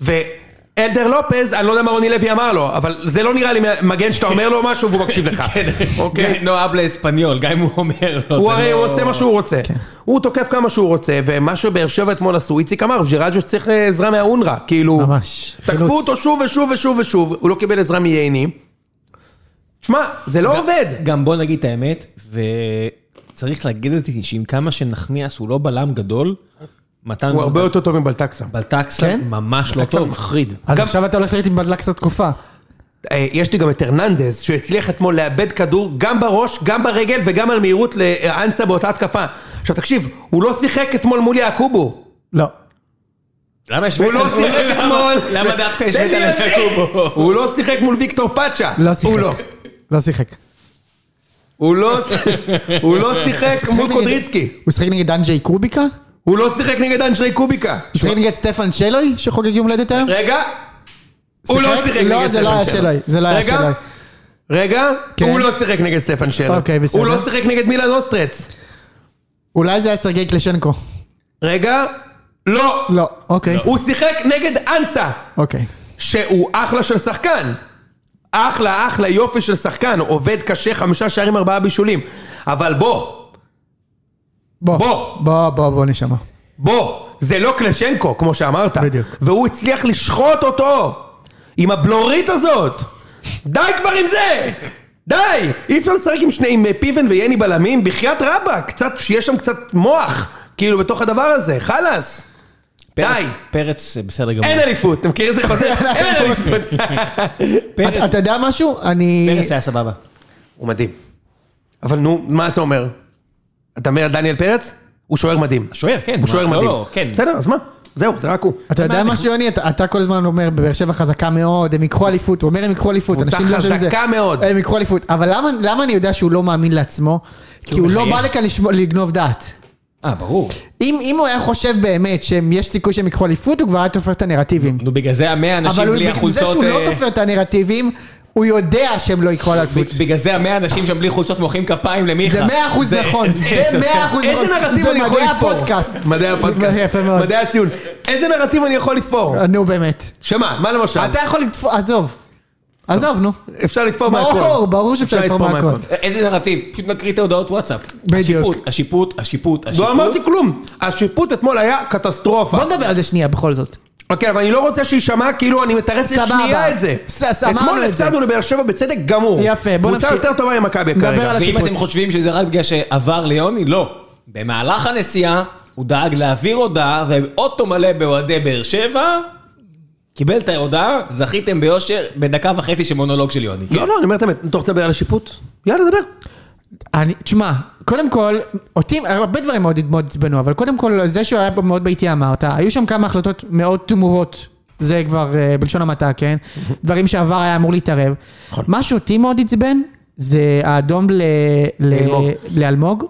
ואלדר לופז, אני לא יודע מה רוני לוי אמר לו, אבל זה לא נראה לי מגן שאתה אומר לו משהו והוא מקשיב לך. אוקיי?
כן, נו אבלה אספניול, גם אם הוא אומר לו.
הוא
זה
הרי
לא-
הוא עושה מה שהוא רוצה. הוא תוקף כמה שהוא רוצה, ומה שבאר שבע אתמול עשו, איציק אמר, ג'יראג'ו צריך אה, עזרה מהאונר"א, כאילו...
ממש. חילוץ.
תקפו אותו שוב ושוב ושוב ושוב, הוא לא קיבל עזרה מייני. תשמע, זה לא עובד.
גם בוא נגיד את האמת, וצריך להגיד את זה שעם כמה שנחמיאס הוא לא בלם גדול, מתן
הוא הרבה יותר טוב מבלטקסה.
בלטקסה
כן?
ממש לא טוב.
מחריד.
אז
גם-
עכשיו אתה הולך להיות עם בדלקס התקופה.
אה, יש לי גם את הרננדז, שהוא הצליח אתמול לאבד כדור גם בראש, גם ברגל וגם על מהירות לאנסה באותה התקפה. עכשיו תקשיב, הוא לא שיחק אתמול מול יעקובו.
לא.
למה השווית?
הוא לא שיחק אתמול.
למה דווקא
תן
השווית
לי להמשיך.
לקקובו?
הוא לא שיחק מול ויקטור פאצ'ה.
לא שיחק.
הוא לא.
לא שיחק.
הוא לא
[LAUGHS]
הוא לא שיחק
הוא
מול
שיחק
קודריצקי.
נגד- הוא שיחק נגד אנג'י קוביקה?
הוא לא שיחק נגד אנשרי קוביקה.
הוא שיחק נגד סטפן שלוי שחוגג יום הולדת היום?
רגע. הוא לא
שיחק?
שיחק נגד
לא, זה לא היה
סטפן שלוי.
שלוי. זה לא היה
רגע.
שלוי.
רגע,
כן.
הוא לא שיחק נגד סטפן שלו.
אוקיי, בסדר.
הוא לא שיחק נגד מילן אוסטרץ.
אולי זה היה סרגי קלשנקו.
רגע, לא.
לא, אוקיי.
הוא שיחק נגד אנסה,
אוקיי.
שהוא אחלה של שחקן. אחלה, אחלה, יופי של שחקן. עובד קשה, חמישה שערים, ארבעה בישולים. אבל בוא,
בוא.
בוא.
בוא, בוא, בוא נשמה.
בוא, זה לא קלשנקו, כמו שאמרת.
בדיוק.
והוא הצליח לשחוט אותו עם הבלורית הזאת. די כבר עם זה! די! אי אפשר לשחק עם שני, עם אה, פיבן ויני בלמים, בחייאת רבאק, קצת, שיהיה שם קצת מוח, כאילו, בתוך הדבר הזה, חלאס. די.
פרץ, אה, בסדר גמור.
אין אליפות, אתה מכיר [LAUGHS] איזה חוזר? אין אליפות.
אתה-
פרץ,
אתה יודע משהו? אני...
פרץ היה סבבה.
הוא מדהים. אבל נו, מה זה אומר? אתה אומר על דניאל פרץ? הוא שוער מדהים.
שוער, כן.
הוא שוער
מה, לא,
מדהים.
לא, כן.
בסדר, אז מה? זהו, זה רק הוא.
אתה יודע משהו, יוני? אתה- אתה כל הזמן אומר, באר שבע חזקה מאוד, הם ייקחו אליפות. הוא אומר, הם ייקחו אליפות.
קבוצה
אנשים לא יודעים את זה.
חזקה מאוד.
הם ייקחו אליפות. אבל למה- למה אני יודע שהוא לא מאמין לעצמו? כי הוא לא
מחייך.
בא לכאן לשמוע- לגנוב דעת.
אה, ברור.
אם אם הוא היה חושב באמת שיש סיכוי שהם ייקחו אליפות, הוא כבר היה תופר את הנרטיבים.
נו, בגלל זה המאה אנשים
אבל הוא-
בלי
בגלל זה
החולצות...
שהוא לא
אה,
תופר את הנרטיבים, הוא יודע שהם לא יקחו אליפות.
ב- בגלל זה המאה אנשים שם בלי חולצות מוחאים כפיים למיכה.
זה מאה אחוז נכון, זה מאה אחוז נכון.
איזה נרטיב אני יכול
זה מדעי
לתפור?
הפודקאסט.
מדעי הפודקאסט.
יפה מאוד. אה,
מדעי הציון. איזה נרטיב אני יכול לתפור?
נו באמת.
שמה, מה למשל?
אתה יכול לתפור, עזוב. עזוב, נו.
אפשר לתפור מהכל.
ברור, ברור שאפשר לתפור מהכל.
איזה נרטיב? פשוט נקריא את ההודעות וואטסאפ.
בדיוק.
השיפוט, השיפוט, השיפוט, השיפוט.
לא אמרתי כלום. השיפוט אתמול היה קטסטרופה.
בוא נדבר על זה שנייה בכל זאת.
אוקיי, אבל אני לא רוצה שיישמע כאילו אני מתרץ
סבבה.
לשנייה את זה.
ס- ס- אמרנו
אתמול
את זה.
הפסדנו לבאר שבע בצדק גמור.
יפה, בוא
קבוצה
נמשיך.
יותר טובה ממכבי
נדבר
כרגע.
על
ואם
השיפוט.
אתם חושבים שזה רק בגלל שעבר ליוני, לא. במהלך הנסיעה, הוא דאג להעביר הודעה, ואוטו מלא באוהדי באר שבע, קיבל את ההודעה, זכיתם ביושר בדקה וחצי של מונולוג של יוני.
לא, לא, אני אומר את האמת. אתה רוצה לדבר על השיפוט? יאללה, דבר.
אני, תשמע, קודם כל, אותי, הרבה דברים מאוד מאוד עצבנו, אבל קודם כל, זה שהוא היה מאוד ביתי אמרת, היו שם כמה החלטות מאוד תמוהות, זה כבר אה, בלשון המעטה,
[LAUGHS]
כן? דברים שעבר היה אמור להתערב.
נכון.
מה שאותי מאוד עצבן, זה האדום ל- ל-
לאלמוג.
לאלמוג.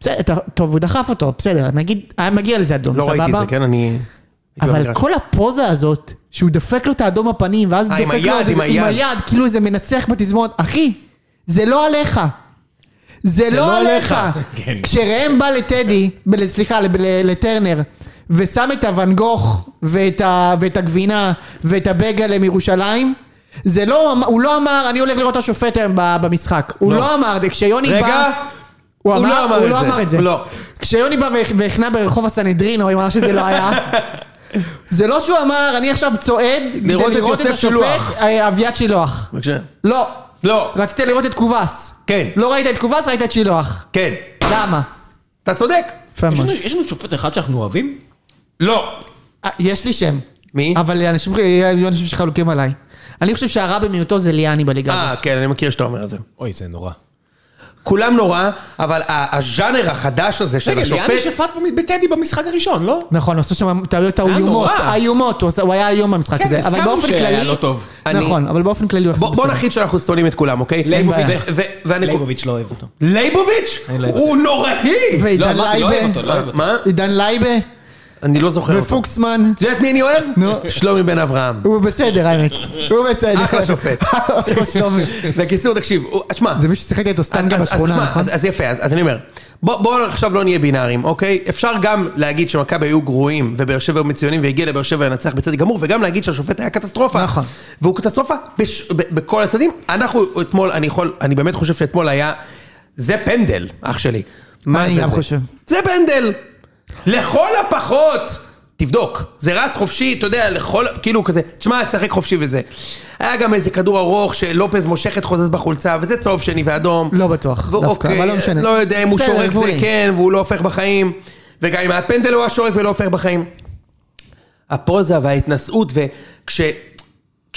בסדר, אתה- טוב, הוא דחף אותו, בסדר, נגיד, היה מגיע לזה אדום,
לא
סבבה?
ראיתי את זה, כן? אני...
אבל כל הפוזה הזאת, שהוא דופק לו את האדום בפנים, ואז
אה,
דופק
עם
לו...
היד,
עוד
עם
איזה-
היד.
עם היד, כאילו איזה מנצח בתזמורת. אחי, זה לא עליך. זה לא
לא
עליך.
עליך.
כן.
כשראם בא לטדי, ב- סליחה, לב- ל- לטרנר, ושם את הוואן גוך, ואת ה- ואת הגבינה, ואת הבגלה מירושלים, זה לא, אמ- הוא לא אמר, אני הולך לראות את השופט היום ב- במשחק. הוא
לא.
לא אמר, כשיוני
רגע,
בא... הוא
הוא לא
אמר,
אמר
הוא
את
לא
זה.
אמר את זה.
לא.
כשיוני בא והכ- והכנע ברחוב הסנהדרין, הוא אמר שזה לא היה. זה לא שהוא אמר, אני עכשיו צועד, כדי
לראות את
לראות את
יוסף שילוח.
השופט, אה, אביעד שילוח.
בבקשה.
לא.
לא.
רצית לראות את קובס.
כן.
לא ראית את קובס, ראית את שילוח.
כן.
למה?
אתה צודק.
יפה
יש
מאוד.
לנו- יש לנו שופט אחד שאנחנו אוהבים?
לא.
אה, יש לי שם.
מי?
אבל אנשים אה, יהיו אנשים שחלוקים עליי. אני חושב שהרע במיעוטו זה ליאני בליגה הזאת.
אה, כן, אני מכיר שאתה אומר את זה.
אוי, זה נורא.
כולם נורא, אבל ה- הז'אנר החדש הזה של
רגע, ליאני
השופט...
שפט במ- בטדי במשחק הראשון, לא?
נכון, הוא עשו שם טעויות
היה
איומות.
נורא.
איומות, הוא עשה- הוא היה איום במשחק
כן,
הזה. אבל
הסכמנו
באופן
שהיה
כללי...
לא טוב.
אני-
נכון, אבל באופן כללי הוא יחזור
בוא בוא נחליט שאנחנו שונאים את כולם, אוקיי?
לייבוביץ'.
ו- ו- והנקוד-
ליבוביץ' לא אוהב אותו.
לייבוביץ'?
אני לא אוהב
הוא נוראי! אה,
ועידן
לא, אמרתי, לא
לייבה-
אוהב אותו, לא אוהב אותו.
מה?
עידן לייבה
אני לא זוכר אותו.
ופוקסמן.
את יודעת מי אני אוהב?
נו.
שלומי בן אברהם.
הוא בסדר
[LAUGHS]
האמת. הוא בסדר.
אחלה שופט.
אחלה שלומי.
בקיצור, תקשיב, הוא- שמע,
[LAUGHS] זה מישהו ששיחק איתו סתם
אז-
גם
אז- אז
בשכונה,
תשמע,
נכון?
אז- אז יפה, אז אז אני אומר, בוא- בואו עכשיו לא נהיה בינאריים, אוקיי? אפשר גם להגיד שמכבי היו גרועים, ובאר שבע היו מצוינים, והגיע לבאר שבע לנצח בצדק גמור, וגם להגיד שהשופט היה קטסטרופה.
נכון.
והוא קטסטרופה בש- ב- בכל הצדדים. אנחנו אתמול, אני יכול, אני באמת חושב שאתמול היה... זה פנדל, אח שלי. מה
אני
זה
גם
זה?
חושב.
זה פנדל! לכל הפחות! תבדוק, זה רץ חופשי, אתה יודע, לכל, כאילו כזה, תשמע, תשחק חופשי וזה. היה גם איזה כדור ארוך שלופז מושך את חוזז בחולצה, וזה צהוב שני ואדום.
לא בטוח,
והוא-
דווקא,
אוקיי,
אבל לא משנה.
לא יודע אם הוא
בסדר,
שורק זה
גבולי.
כן, והוא לא הופך בחיים, וגם אם היה פנדל הוא היה שורק ולא הופך בחיים. הפוזה וההתנשאות, וכש...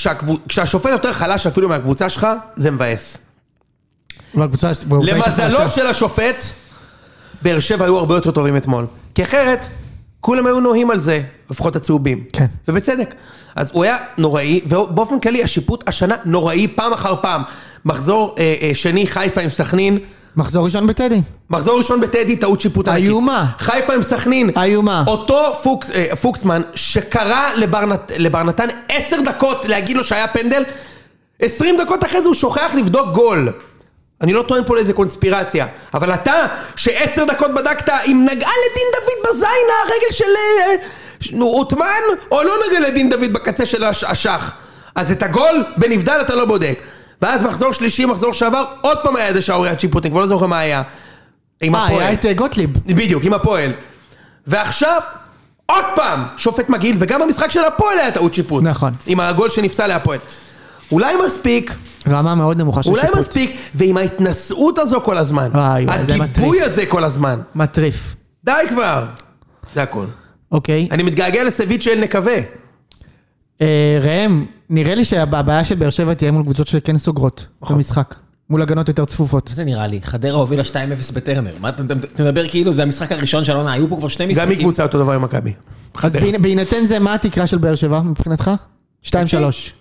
כשהקבוצ- כשהשופט יותר חלש אפילו מהקבוצה שלך, זה מבאס.
והקבוצה והקבוצה הייתה
למזלו
חלשה.
של השופט, באר שבע היו הרבה יותר טובים אתמול. כי אחרת, כולם היו נוהים על זה, לפחות הצהובים.
כן.
ובצדק. אז הוא היה נוראי, ובאופן כללי השיפוט השנה נוראי פעם אחר פעם. מחזור אה, אה, שני חיפה עם סכנין,
מחזור ראשון בטדי.
מחזור ראשון בטדי, טעות שיפוט ענקית.
איומה.
חיפה עם סכנין.
איומה.
אותו פוקס, אה, פוקסמן שקרא לברנת, לברנתן עשר דקות להגיד לו שהיה פנדל, עשרים דקות אחרי זה הוא שוכח לבדוק גול. אני לא טוען פה לאיזה קונספירציה, אבל אתה, שעשר דקות בדקת אם נגעה לדין דוד בזין הרגל של אה, ש- נו, עותמן, או לא נגעה לדין דוד בקצה של הש- השח. אז את הגול בנבדל אתה לא בודק. ואז מחזור שלישי, מחזור שעבר, עוד פעם היה איזה שערוריית שיפוט, אני כבר לא זוכר מה היה. עם
אה,
הפועל.
היה את אה, גוטליב.
בדיוק, עם הפועל. ועכשיו, עוד פעם, שופט מגעיל, וגם במשחק של הפועל היה טעות שיפוט.
נכון.
עם הגול שנפסל להפועל. אולי מספיק,
רמה מאוד נמוכה של
אולי
שיפוט.
מספיק, ועם ההתנשאות הזו כל הזמן.
וואי, וואי, זה
הגיבוי
מטריף.
הזה כל הזמן.
מטריף.
די כבר. זה הכל.
אוקיי.
אני מתגעגע לסביץ' של נקווה.
אה, ראם, נראה לי שהבעיה של באר שבע תהיה מול קבוצות שכן סוגרות
נכון.
במשחק. מול הגנות יותר צפופות.
מה זה נראה לי? חדרה הובילה 2-0 בטרנר. מה אתה אתה- אתה מדבר כאילו זה המשחק הראשון של העונה, היו פה כבר שני
גם
משחקים.
היא קבוצה אותו דבר עם מכבי.
אז
חדרה.
בהינ- בהינתן זה, מה התקרה של באר שבע מבחינתך? 2-3.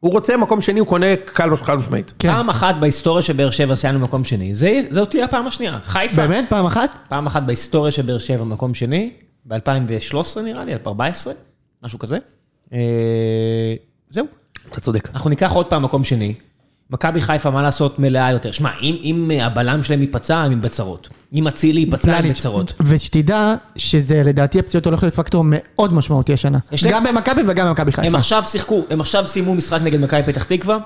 הוא רוצה מקום שני, הוא קונה קל חד משמעית.
כן.
פעם אחת בהיסטוריה של באר שבע סיימנו מקום שני, זה- זאת תהיה הפעם השנייה. חיפה.
באמת? פעם אחת?
פעם אחת בהיסטוריה של באר שבע מקום שני, ב-2013 נראה לי, 2014, משהו כזה. אה, זהו.
אתה צודק.
אנחנו ניקח עוד פעם מקום שני. מכבי חיפה, מה לעשות, מלאה יותר. שמע, אם, אם אה, הבלם שלהם ייפצע, הם בצרות. אם אצילי ייפצע, הם
פלניץ'.
בצרות.
ושתדע שזה לדעתי הפציעות הולך לפקטור מאוד משמעותי השנה.
יש להם-
גם במכבי וגם במכבי
הם
חיפה.
עכשיו שיחקו, הם עכשיו סיימו משחק נגד מכבי פתח תקווה,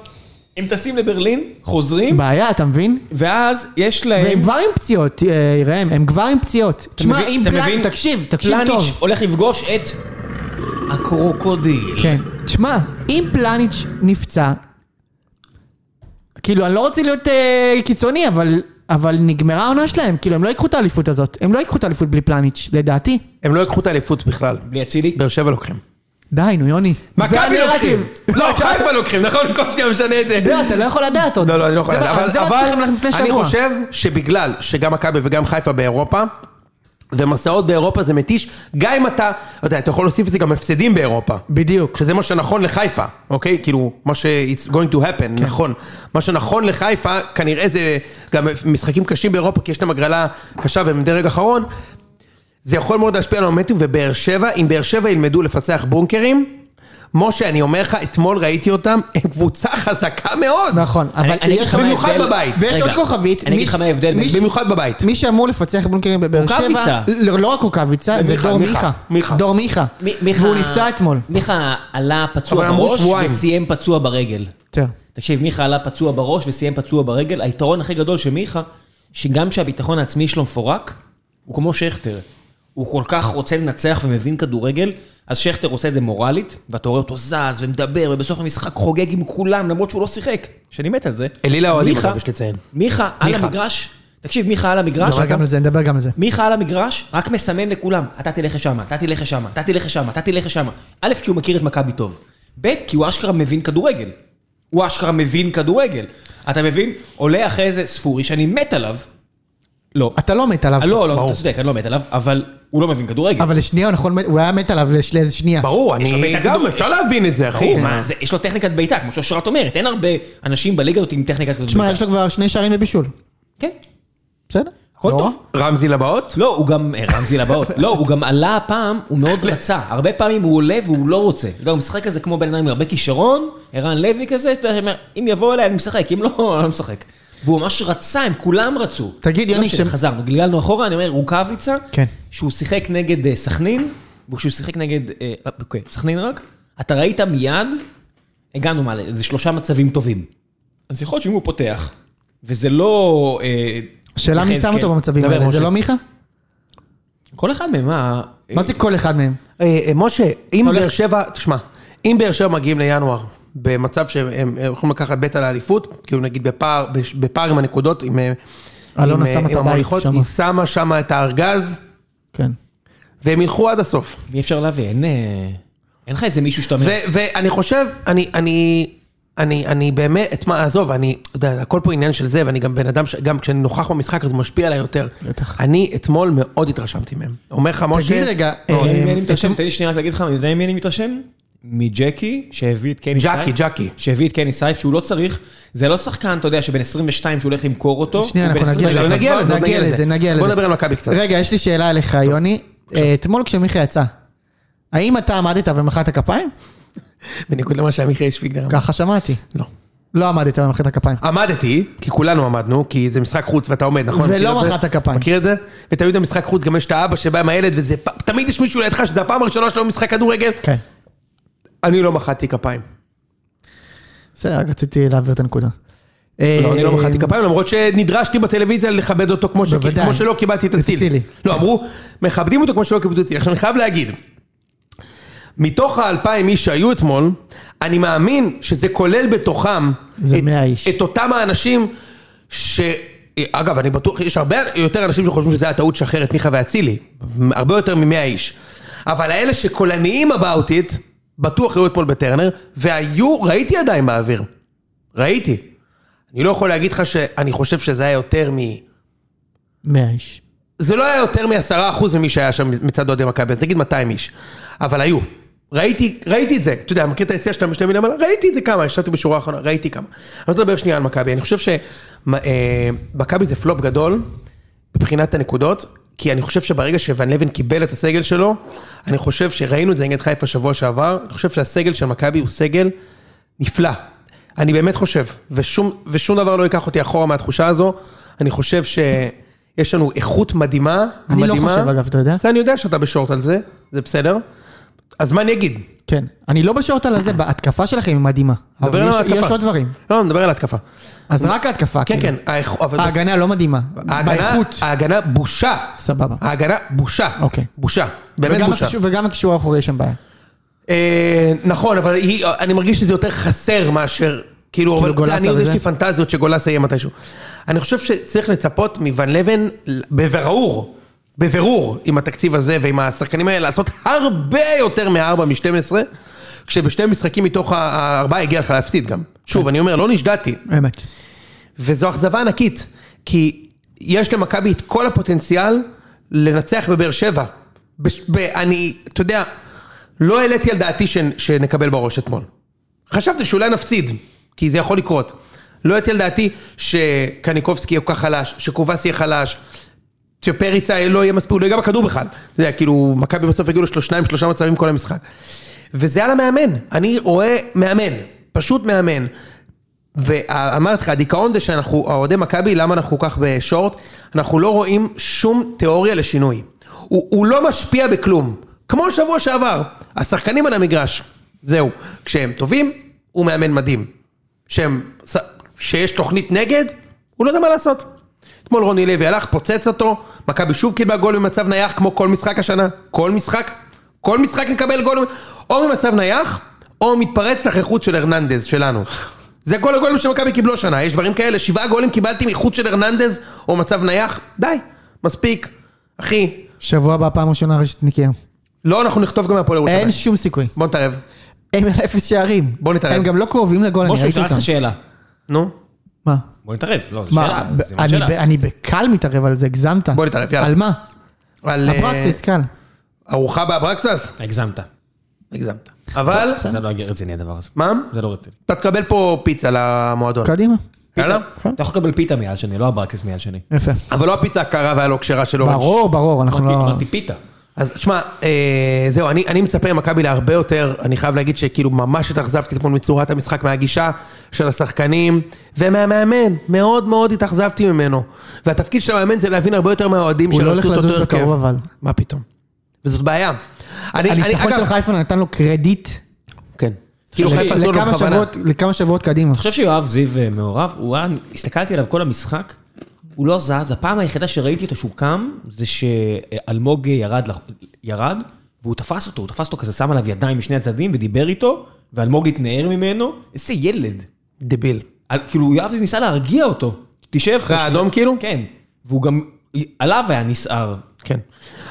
הם טסים לברלין, חוזרים,
בעיה, אתה מבין?
ואז יש
והם
להם...
כבר עם פציעות, אה, ראם, הם כבר עם פציעות. תשמע,
מבין-
אם
אתה
פלניץ',
מבין?
תקשיב, תקשיב
פלניץ'
טוב.
הולך לפגוש את הקרוקודיל.
כן. תשמע, אם פלניץ' נפצע, כאילו, אני לא רוצה להיות אה, קיצוני, אבל... אבל נגמרה העונה שלהם, כאילו הם לא ייקחו את האליפות הזאת, הם לא ייקחו את האליפות בלי פלניץ', לדעתי.
הם לא יקחו את האליפות בכלל.
בלי אצילי.
באר שבע לוקחים.
די, נו יוני. זה
מכבי
הנרטיב.
לוקחים. לא, חיפה לוקחים, נכון? כל שנייה משנה את זה.
זהו, אתה לא יכול לדעת עוד.
לא, לא, אני לא יכול
זה
לדעת.
מה-
אבל-
זה מה
אבל
שצריכים ללכת לפני שבוע.
אני חושב שבגלל שגם מכבי וגם חיפה באירופה, ומסעות באירופה זה מתיש, גם אם אתה, אתה יודע, אתה יכול להוסיף לזה גם הפסדים באירופה.
בדיוק.
שזה מה שנכון לחיפה, אוקיי? כאילו, מה ש- it's going to
כן.
happen, נכון. מה שנכון לחיפה, כנראה זה גם משחקים קשים באירופה, כי יש להם הגרלה קשה והם דרג אחרון. זה יכול מאוד להשפיע על המומנטום, ובאר שבע, אם באר שבע ילמדו לפצח בונקרים, משה, אני אומר לך, אתמול ראיתי אותם, הם קבוצה חזקה מאוד.
נכון, אבל
אני- אני אגיד
יש
לך מה
במיוחד
ההבדל-
בבית.
ויש
רגע,
עוד כוכבית,
אני
מי
אגיד לך
ש-
מה ההבדל
מי
בין...
ש-
במיוחד בבית.
מי שאמור לפצח בונקרים בבאר שבע,
רוקאביצה.
לא לא רק רוקאביצה, זה
מיכה,
דור
מיכה,
מיכה,
מיכה.
דור מיכה,
מי- מיכה-
והוא נפצע אתמול.
מיכה עלה
אבל
פצוע
אמרו
בראש
שבועיים.
וסיים פצוע ברגל.
תראה,
תקשיב, מיכה עלה פצוע בראש וסיים פצוע ברגל. היתרון הכי גדול של מיכה, שגם כשהביטחון העצמי שלו מפורק, הוא כמו שכטר. הוא כל כך רוצה לנצח ומבין כדורגל, אז שכטר עושה את זה מורלית, ואתה רואה אותו זז ומדבר, ובסוף המשחק חוגג עם כולם, למרות שהוא לא שיחק. שאני מת על זה.
אלילה אוהדים,
מיכה-
אגב, יש לציין.
מיכה על
מיכה. לא,
המגרש, תקשיב, מיכה על המגרש,
נדבר גם על זה, נדבר גם על זה.
מיכה על המגרש, רק מסמן לכולם, אתה תלך לשם, אתה תלך לשם, אתה תלך לשם, אתה תלך לשם. א', כי הוא מכיר את מכבי טוב. ב', כי הוא אשכרה מבין כדורגל. הוא אשכרה מבין כדורגל. אתה מבין? עולה אחרי זה ספורי שאני מת עליו. לא.
אתה לא מת עליו.
אה, לא, לא, אתה צודק, אני לא מת עליו, אבל הוא לא מבין כדורגל.
אבל לשנייה, נכון, הוא היה מת עליו לש- לאיזה שנייה.
ברור,
יש
אני
הרבה
גם,
תקדום,
אפשר
יש-
להבין את זה, אחי.
אחי,
מה?
אה.
מה זה, יש לו טכניקת בעיטה, כמו שאושרת אומרת, אין הרבה אנשים בליגה הזאת עם טכניקת כזאת
תשמע, יש לו כבר שני שערים ובישול.
כן,
בסדר?
הכל
לא
טוב.
רע.
רמזי לבאות?
לא, הוא גם, אה, רמזי לבאות, לא, הוא גם עלה הפעם, הוא מאוד רצה. הרבה פעמים הוא עולה והוא לא רוצה. אתה יודע, הוא משחק כזה כמו בן אדם עם הרבה כישרון, ערן לוי כזה, אתה יודע, שאומר, אם יבוא אליי אני משחק, אם לא, [LAUGHS] אני לא משחק. והוא ממש רצה, הם כולם רצו.
תגיד, יוני,
לא משנה,
כש-
חזרנו, גלגלנו אחורה, אני אומר, רוקאביצה,
כן.
שהוא שיחק נגד אה, סכנין, וכשהוא שיחק נגד, אה, אוקיי, סכנין רק, אתה ראית מיד, הגענו מה, איזה שלושה מצבים טובים. אז יכול להיות שאם הוא פותח, וזה לא... אה,
השאלה מי שם
יחזקאל,
אותו במצבים
דבר,
האלה, זה
משה.
לא מיכה?
כל אחד מהם, מה...
מה זה כל אחד מהם?
אה, אה, משה, אם
הולך-
באר שבע, תשמע, אם באר שבע מגיעים לינואר במצב שהם אה, יכולים לקחת בטא לאליפות, כאילו נגיד בפער, בש- בפער עם הנקודות, עם... אה,
אלונה
עם, אה,
שמה את
עם
הבית
המוליכות,
שמה.
היא שמה שמה את הארגז,
כן.
והם ילכו עד הסוף.
אי אפשר להביא, אין... אה, אין לך איזה מישהו שאתה אומר...
ו- ואני חושב, אני, אני, אני, אני באמת, את מה, עזוב, אני, אתה יודע, הכל פה עניין של זה, ואני גם בן אדם, ש- גם כשאני נוכח במשחק, אז הוא משפיע עליי יותר.
בטח.
אני אתמול מאוד התרשמתי מהם. אומר לך, משה...
תגיד רגע,
אתה יודע ממי
אה,
אני מתרשם? תן לי שנייה רק להגיד לך, אתה יודע ממי אני מתרשם? מג'קי, שהביא את קני
ג'קי,
סייף.
ג'קי.
שהביא את קני סייף, שהוא לא צריך, זה לא שחקן, אתה יודע, שבין 22 שהוא הולך למכור אותו.
שנייה,
הוא
אנחנו
בן
נגיע
רגע,
22
לזה.
נגיע
כבר.
לזה,
נגיע לזה, נגיע
בוא
לזה.
נדבר על מכבי קצת.
רגע, יש לי שאלה אליך, יוני. אה, אתמול כשמיכה יצא, האם אתה עמדת ומחאת כפיים?
בניגוד למה שעמיחי שפיגלר אמר.
ככה שמעתי.
לא.
לא עמדת ומחאת כפיים.
עמדתי, כי כולנו עמדנו, כי זה משחק חוץ ואתה עומד, נכון?
ולא
מכיר את זה?
מחאת כפיים.
מכיר את זה? ותמיד במשחק חוץ גם יש את האבא שבא עם הילד, וזה פ- תמיד יש מישהו לידך שזה הפעם הראשונה שלו במשחק כדורגל.
כן.
אני לא מחאתי כפיים.
בסדר, רק רציתי להעביר את הנקודה.
לא, אני לא
אה,
מחאתי כפיים, למרות שנדרשתי בטלוויזיה לכבד אותו כמו, ש...
בוודאי.
כמו שלא קיבלתי את
את
אצילי.
אצילי.
לא, אמרו, מכבדים אותו כמו שלא קיבלו את אצילי. עכשיו, אני חייב להגיד, מתוך האלפיים איש שהיו אתמול, אני מאמין שזה כולל בתוכם...
זה
את,
100 איש.
את אותם האנשים ש... אגב, אני בטוח, יש הרבה יותר אנשים שחושבים שזה היה טעות לשחרר את מיכה ואצילי. הרבה יותר ממאה איש. אבל האלה שקולניים about it, בטוח היו אתמול בטרנר, והיו, ראיתי ידיים באוויר. ראיתי. אני לא יכול להגיד לך שאני חושב שזה היה יותר מ...
100 איש.
זה לא היה יותר מעשרה אחוז ממי שהיה שם מצד אוהדי מכבי, אז נגיד 200 איש. אבל היו. ראיתי, ראיתי את זה. אתה יודע, מכיר את היציאה שאתה משתי מילים עליו? ראיתי את זה כמה, ישבתי בשורה האחרונה, ראיתי כמה. אני רוצה לדבר שנייה על מכבי. אני חושב שמכבי זה פלופ גדול מבחינת הנקודות, כי אני חושב שברגע שוון לבן קיבל את הסגל שלו, אני חושב שראינו את זה נגד חיפה שבוע שעבר, אני חושב שהסגל של מכבי הוא סגל נפלא. אני באמת חושב, ושום, ושום דבר לא ייקח אותי אחורה מהתחושה הזו. אני חושב שיש לנו איכות מדהימה,
אני לא
מדהימה.
חושב, אגב, אתה יודע?
זה אני יודע שאתה בשורט על זה, זה בסדר. אז מה אני אגיד?
כן. אני לא בשורט על הזה, בהתקפה שלכם היא מדהימה.
נדבר
אבל
על
יש-
ההתקפה.
יש עוד דברים.
לא, נדבר על ההתקפה.
אז רק ההתקפה.
כן, כן,
כאילו.
האיכ- אבל בס-
ההגנה לא מדהימה.
ההגנה, אה,
באיכות.
ההגנה בושה.
סבבה.
ההגנה בושה.
אוקיי.
בושה. באמת
וגם
בושה.
הקישור- וגם הקישור האחורי יש שם בעיה.
אה, נכון, אבל היא, אני מרגיש שזה יותר חסר מאשר... כאילו, אבל
גולסה
אני יודע, יש
וזה?
לי פנטזיות שגולסה יהיה מתישהו. אני חושב שצריך לצפות מוון לבן, בבירור, בבירור, עם התקציב הזה ועם השחקנים האלה, לעשות הרבה יותר מ-4 מ-12, כשבשני משחקים מתוך ה- הארבעה הגיע לך להפסיד גם.
כן.
שוב, אני אומר, לא נשדדתי.
אמת.
וזו אכזבה ענקית, כי יש למכבי את כל הפוטנציאל לנצח בבאר שבע. בש... ב... אני, אתה יודע, לא העליתי על דעתי ש... שנקבל בראש אתמול. חשבתי שאולי נפסיד, כי זה יכול לקרות. לא העליתי על דעתי שקניקובסקי יהיה כל כך חלש, שקובס יהיה חלש, שפריצה לא יהיה מספיק, הוא לא ייגע בכדור בכלל. אתה יודע, כאילו, מכבי בסוף הגיעו לשלוש, שניים, שלושה מצבים כל המשחק. וזה על המאמן, אני רואה מאמן, פשוט מאמן. ואמרתי לך, הדיכאון זה שאנחנו, האוהדי מכבי, למה אנחנו כל כך בשורט? אנחנו לא רואים שום תיאוריה לשינוי. הוא, הוא לא משפיע בכלום. כמו שבוע שעבר, השחקנים על המגרש, זהו. כשהם טובים, הוא מאמן מדהים. שהם, שיש תוכנית נגד, הוא לא יודע מה לעשות. אתמול רוני לוי הלך, פוצץ אותו, מכבי שוב קיבלה גול ממצב נייח כמו כל משחק השנה. כל משחק, כל משחק נקבל גול, או ממצב נייח, או מתפרץ לחחות של הרננדז שלנו. זה כל הגולים שמכבי קיבלו השנה, יש דברים כאלה, שבעה גולים קיבלתי מחוץ של הרננדז, או מצב נייח, די, מספיק. אחי,
שבוע הבא פעם ראשונה רשת נקייה.
לא, אנחנו נכתוב גם מהפועל ירושלים.
אין שום סיכוי.
בוא נתערב.
הם על [LAUGHS] אפס שערים.
בוא נתערב.
הם גם לא קרובים לגול, אני
משה,
ראיתי
שאלה
אותם.
לך שאלה.
נו,
מה?
בוא נתערב, לא, זו
מה?
שאלה,
ב-
זה מה
אני
שאלה.
ב- אני בקל מתערב על זה, הגזמת.
בוא נתערב, יאללה.
על מה?
על... אה,
אברקסיס, קל.
ארוחה באברקסס?
הגזמת.
הגזמת. אבל,
זה לא רציני הדבר הזה.
מה?
זה לא רציני.
אתה תקבל פה פיצה למועדון.
קדימה.
יאללה?
כן.
אתה יכול לקבל פיתה מיד שני, לא אברקס מיד שני.
יפה.
אבל לא הפיצה הקרה והלא כשרה של אורנג'.
ברור, ברור, אנחנו
אמרתי-
לא...
אמרתי פיתה.
אז שמע, אה, זהו, אני, אני מצפה ממכבי להרבה יותר, אני חייב להגיד שכאילו ממש התאכזבתי אתמול מצורת המשחק, מהגישה של השחקנים ומהמאמן, מאוד מאוד התאכזבתי ממנו. והתפקיד של המאמן זה להבין הרבה יותר מהאוהדים
הוא
שלו,
לא הולך
לצאת אותו
לזוז
הרכב.
בקרוב, אבל.
מה פתאום? וזאת בעיה. אני, אני,
הניצחון של חיפה נתן לו קרדיט
כן. כאילו
ש-
חיפה עשו לנו
לכמה
בכוונה.
שבועות- לכמה שבועות קדימה.
אתה חושב שיואב זיו אה, מעורב? הוא היה, הסתכלתי עליו כל המשחק, הוא לא זז. הפעם היחידה שראיתי אותו שהוא קם, זה שאלמוג ירד, לח- ירד, והוא תפס אותו, הוא תפס אותו כזה, שם עליו ידיים משני הצדדים ודיבר איתו, ואלמוג התנער ממנו. איזה ילד.
דביל.
על- כאילו, יואב זיו ניסה להרגיע אותו. תשב פה
אחרי
שנייה.
האדום כאילו?
כן. והוא גם, עליו היה נסער.
כן.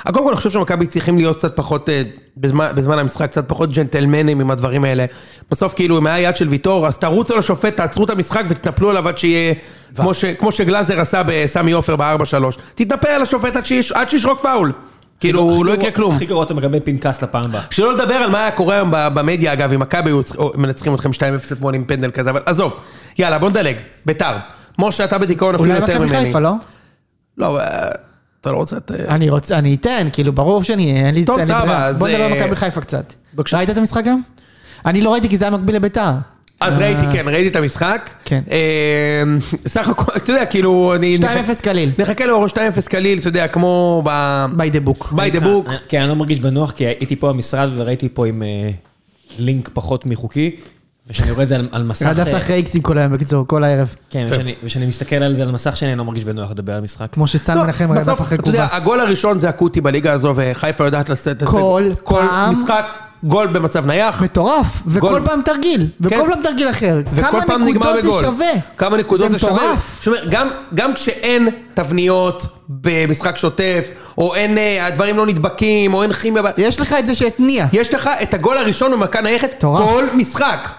אבל קודם כל, אני חושב שמכבי צריכים להיות קצת פחות, אה, בזמן, בזמן המשחק, קצת פחות ג'נטלמנים עם הדברים האלה. בסוף, כאילו, אם היה יד של ויטור, אז תרוצו לשופט, תעצרו את המשחק ותתנפלו עליו עד שיהיה... כמו, ש, כמו שגלאזר עשה בסמי עופר ב-4-3. תתנפל על השופט עד, שיש, עד שישרוק פאול. כאילו, הוא לא יקרה כלום.
הכי גרוע אתה מקבל פנקס לפעם הבאה.
שלא לדבר על מה היה קורה היום ב- במדיה, אגב, אם מכבי היו צריכים- או, מנצחים אתכם 2-0 אתמול עם פנדל כזה, אבל עזוב. יאללה, בוא נדלג. ביתר. משה, אתה בדיכאון אפילו
אולי
יותר
מכבי
ממני.
חיפה, לא?
לא, אה, אתה לא רוצה את... אה,
אני רוצה, אני אתן, כאילו, ברור שאני, אין לי...
טוב,
אין לי
סבבה,
ברירה.
אז,
בוא נדבר
אה,
על מכבי חיפה קצת.
בבקשה.
ראית את המשחק היום? אני לא ראיתי כי זה היה מקביל לביתר.
אז
אה,
ראיתי, כן, ראיתי את המשחק.
כן.
אה, סך הכל, אתה יודע, כאילו, אני...
2-0 קליל.
נחכה לאור 2-0 קליל, אתה יודע, כמו ב...
by the book.
ביי דה בוק.
אני- כן, אני לא מרגיש בנוח, כי הייתי פה במשרד וראיתי פה עם אה, לינק פחות מחוקי, וכשאני רואה את זה על- על מסך...
רדפת
אה,
אחרי איקסים כל היום, בקיצור, כל הערב.
כן, וכשאני- וכשאני מסתכל על זה על מסך שני, אני לא מרגיש בנוח לדבר על משחק.
כמו שסן
לא,
מנחם
בסוף,
רדף אחרי
אתה יודע,
קובס.
הגול הראשון זה אקוטי בליגה הזו, וחיפה יודעת לשאת... את-
כל פעם.
כל משחק, גול במצב נייח.
מטורף, וכל
גול.
פעם תרגיל,
כן.
וכל פעם תרגיל אחר.
וכל פעם נגמר
כמה נקודות
בגול.
זה שווה?
כמה נקודות זה שווה.
מטורף.
זאת אומרת, גם, גם כשאין תבניות במשחק שוטף, או אין, אה, הדברים לא נדבקים, או אין כימיה, ב-
יש לך את זה שהתניע.
יש לך את הגול הראשון במכה נייחת
מטורף.
כל משחק.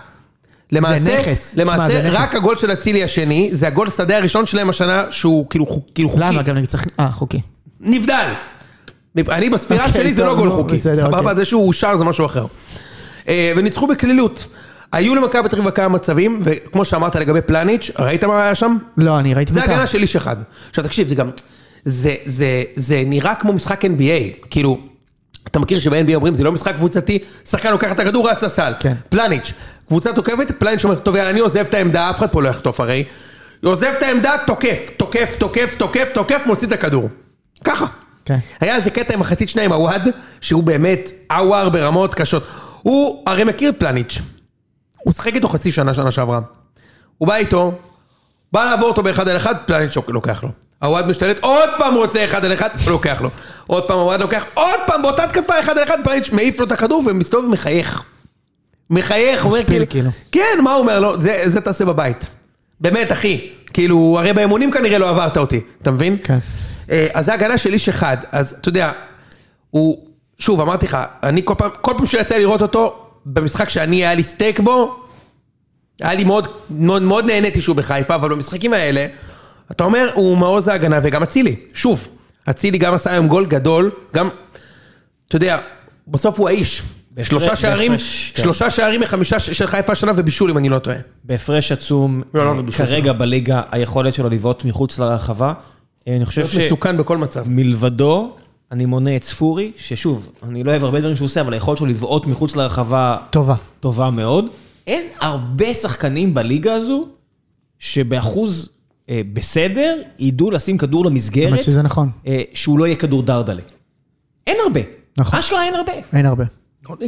למעשה,
נכס. תשמע,
למעשה
זה נכס.
רק הגול של אצילי השני, זה הגול שדה הראשון שלהם השנה, שהוא כאילו, חוק, כאילו חוקי.
למה? גם נגד סכנין? אה, חוקי.
נבדל. אני בספירה
אוקיי,
שלי זה
טוב,
לא גול
נו,
חוקי.
בסדר,
סבבה,
אוקיי.
זה שהוא אושר זה משהו אחר. אה, וניצחו בקלילות. היו למכבי פתח תקווה כמה מצבים, וכמו שאמרת לגבי פלניץ', ראית מה היה שם?
לא, אני ראיתי
זה
בית"ר.
הגנה של איש אחד. עכשיו תקשיב, זה גם... זה, זה, זה נראה כמו משחק NBA, כאילו... אתה מכיר שב-NBA אומרים זה לא משחק קבוצתי, שחקן לוקח את הכדור, רץ לסל.
כן.
פלניץ', קבוצה תוקפת, פלניץ' אומר, טוב, יאללה, אני עוזב את העמדה, אף אחד פה לא יחטוף הרי. עוזב את העמדה, תוקף, תוקף, תוקף, תוקף, תוקף, מוציא את הכדור. ככה.
כן.
היה איזה קטע עם מחצית שניים, הוואד, שהוא באמת אוואר ברמות קשות. הוא הרי מכיר את פלניץ'. הוא שחק איתו חצי שנה, שנה שעברה. הוא בא איתו, בא לעבור אותו באחד על אחד, פלניץ' שוק- לוקח לו. הוואד משתלט, עוד פעם רוצה אחד על אחד, לוקח לו. עוד פעם הוואד לוקח, עוד פעם באותה תקפה אחד על אחד, פלניץ' מעיף לו את הכדור ומסתובב ומחייך. מחייך, אומר
משפיל,
כאילו,
כאילו.
כן, מה הוא אומר לו? זה, זה תעשה בבית. באמת, אחי. כאילו, הרי באימונים כנראה לא עברת אותי, אתה מבין?
כן.
אה, אז זה הגנה של איש אחד, אז אתה יודע, הוא, שוב, אמרתי לך, אני כל פעם, כל פעם שיצא לי לראות אותו, במשחק שאני, היה לי סטייק בו, היה לי מאוד, מאוד, מאוד נהניתי שהוא בחיפה, אבל במשחקים האלה, אתה אומר, הוא מעוז ההגנה וגם אצילי. שוב, אצילי גם עשה היום גול גדול, גם, אתה יודע, בסוף הוא האיש.
בהפרש-
שלושה שערים,
בהפרש, כן.
שלושה שערים מחמישה ש- של חיפה השנה ובישול, אם אני לא טועה.
בהפרש עצום,
לא, לא,
אה,
בשביל
כרגע בליגה, היכולת שלו לבעוט מחוץ לרחבה. אה, אני חושב
ש... לא, מסוכן בכל מצב.
שמלבדו, אני מונה את ספורי, ששוב, אני לא אוהב הרבה דברים שהוא עושה, אבל היכולת שלו לבעוט מחוץ לרחבה
טובה.
טובה מאוד. אין הרבה שחקנים בליגה הזו שבאחוז אה, בסדר ידעו לשים כדור למסגרת,
האמת שזה נכון.
אה, שהוא לא יהיה כדור דרדלה. אין הרבה.
נכון.
אשכרה אין הרבה.
אין הרבה.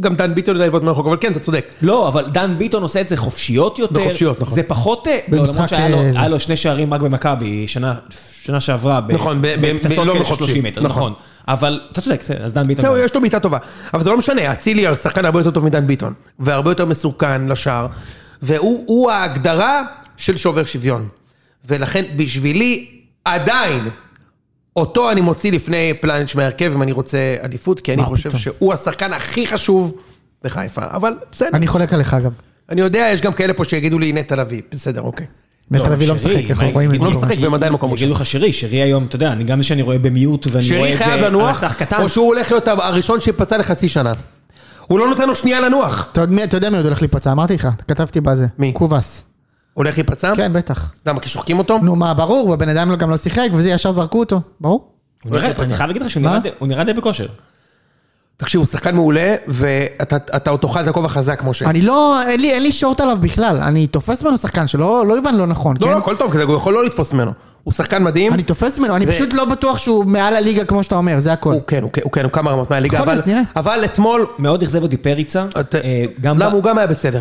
גם דן ביטון יודע לבעוט מרחוק, אבל כן, אתה צודק.
לא, אבל דן ביטון עושה את זה חופשיות יותר.
בחופשיות, נכון.
זה פחות... אה, לא,
במשחק,
למרות שהיה לו,
אה, זה.
היה לו שני שערים רק במכבי שנה, שנה שעברה. ב-
נכון, ב- ב-
בפצצות
לא
כאלה של
בחופשי.
30 מטר,
נכון.
נכון. אבל אתה צודק, בסדר, אז דן ביטון...
זהו,
גם.
יש לו בעיטה טובה. אבל זה לא משנה, אצילי הוא שחקן הרבה יותר טוב מדן ביטון. והרבה יותר מסוכן לשער. והוא הוא ההגדרה של שובר שוויון. ולכן, בשבילי, עדיין, אותו אני מוציא לפני פלניץ' מהרכב, אם אני רוצה עדיפות, כי אני
מה
חושב
פתאום.
שהוא השחקן הכי חשוב בחיפה. אבל בסדר, אני...
אני חולק עליך אגב.
יודע, יש גם כאלה פה שיגידו לי, נטע לביא. בסדר, אוקיי.
נטע לביא לא
שרי,
משחק,
מה,
אנחנו רואים את
הוא לא
זה.
משחק והם עדיין מקום ראשון.
יגידו לך שרי, שרי היום, אתה יודע, אני גם זה שאני רואה במיוט ואני רואה
שרי
את זה
חייב
על
לנוח,
מסך קטן.
או שהוא הולך להיות הראשון שיפצע לחצי שנה. הוא לא נותן לו שנייה לנוח.
אתה יודע מי- אתה יודע מי עוד הולך להיפצע, אמרתי לך, כתבתי בזה.
מי?
קובס.
הולך להיפצע?
כן, בטח.
למה, כי שוחקים אותו?
נו, מה, ברור, והבן אדם גם לא שיחק, וזה ישר זרקו אותו. ברור.
הוא נראה-
אוקיי.
אני חייב להגיד לך שהוא נראה
מה?
די- הוא נראה די בכושר.
תקשיב, הוא שחקן מעולה, ואתה אתה עוד תאכל את הכובע חזק, משה.
אני לא, אין לי- אין לי שורט עליו בכלל. אני תופס ממנו שחקן שלא לא הבן לא נכון,
לא,
כן?
לא, הכל טוב, כזה, הוא יכול לא לתפוס ממנו. הוא שחקן מדהים.
אני תופס ממנו, אני
ו-
פשוט לא בטוח שהוא מעל הליגה כמו שאתה אומר, זה הכל.
הוא כן, הוא כן, הוא כן, הוא כמה רמות מהליגה,
יכול
אבל-
להיות, נראה.
אבל אתמול...
מאוד אכזב אותי פריצה.
אתה-
אה, גם ב-
למה הוא גם היה בסדר?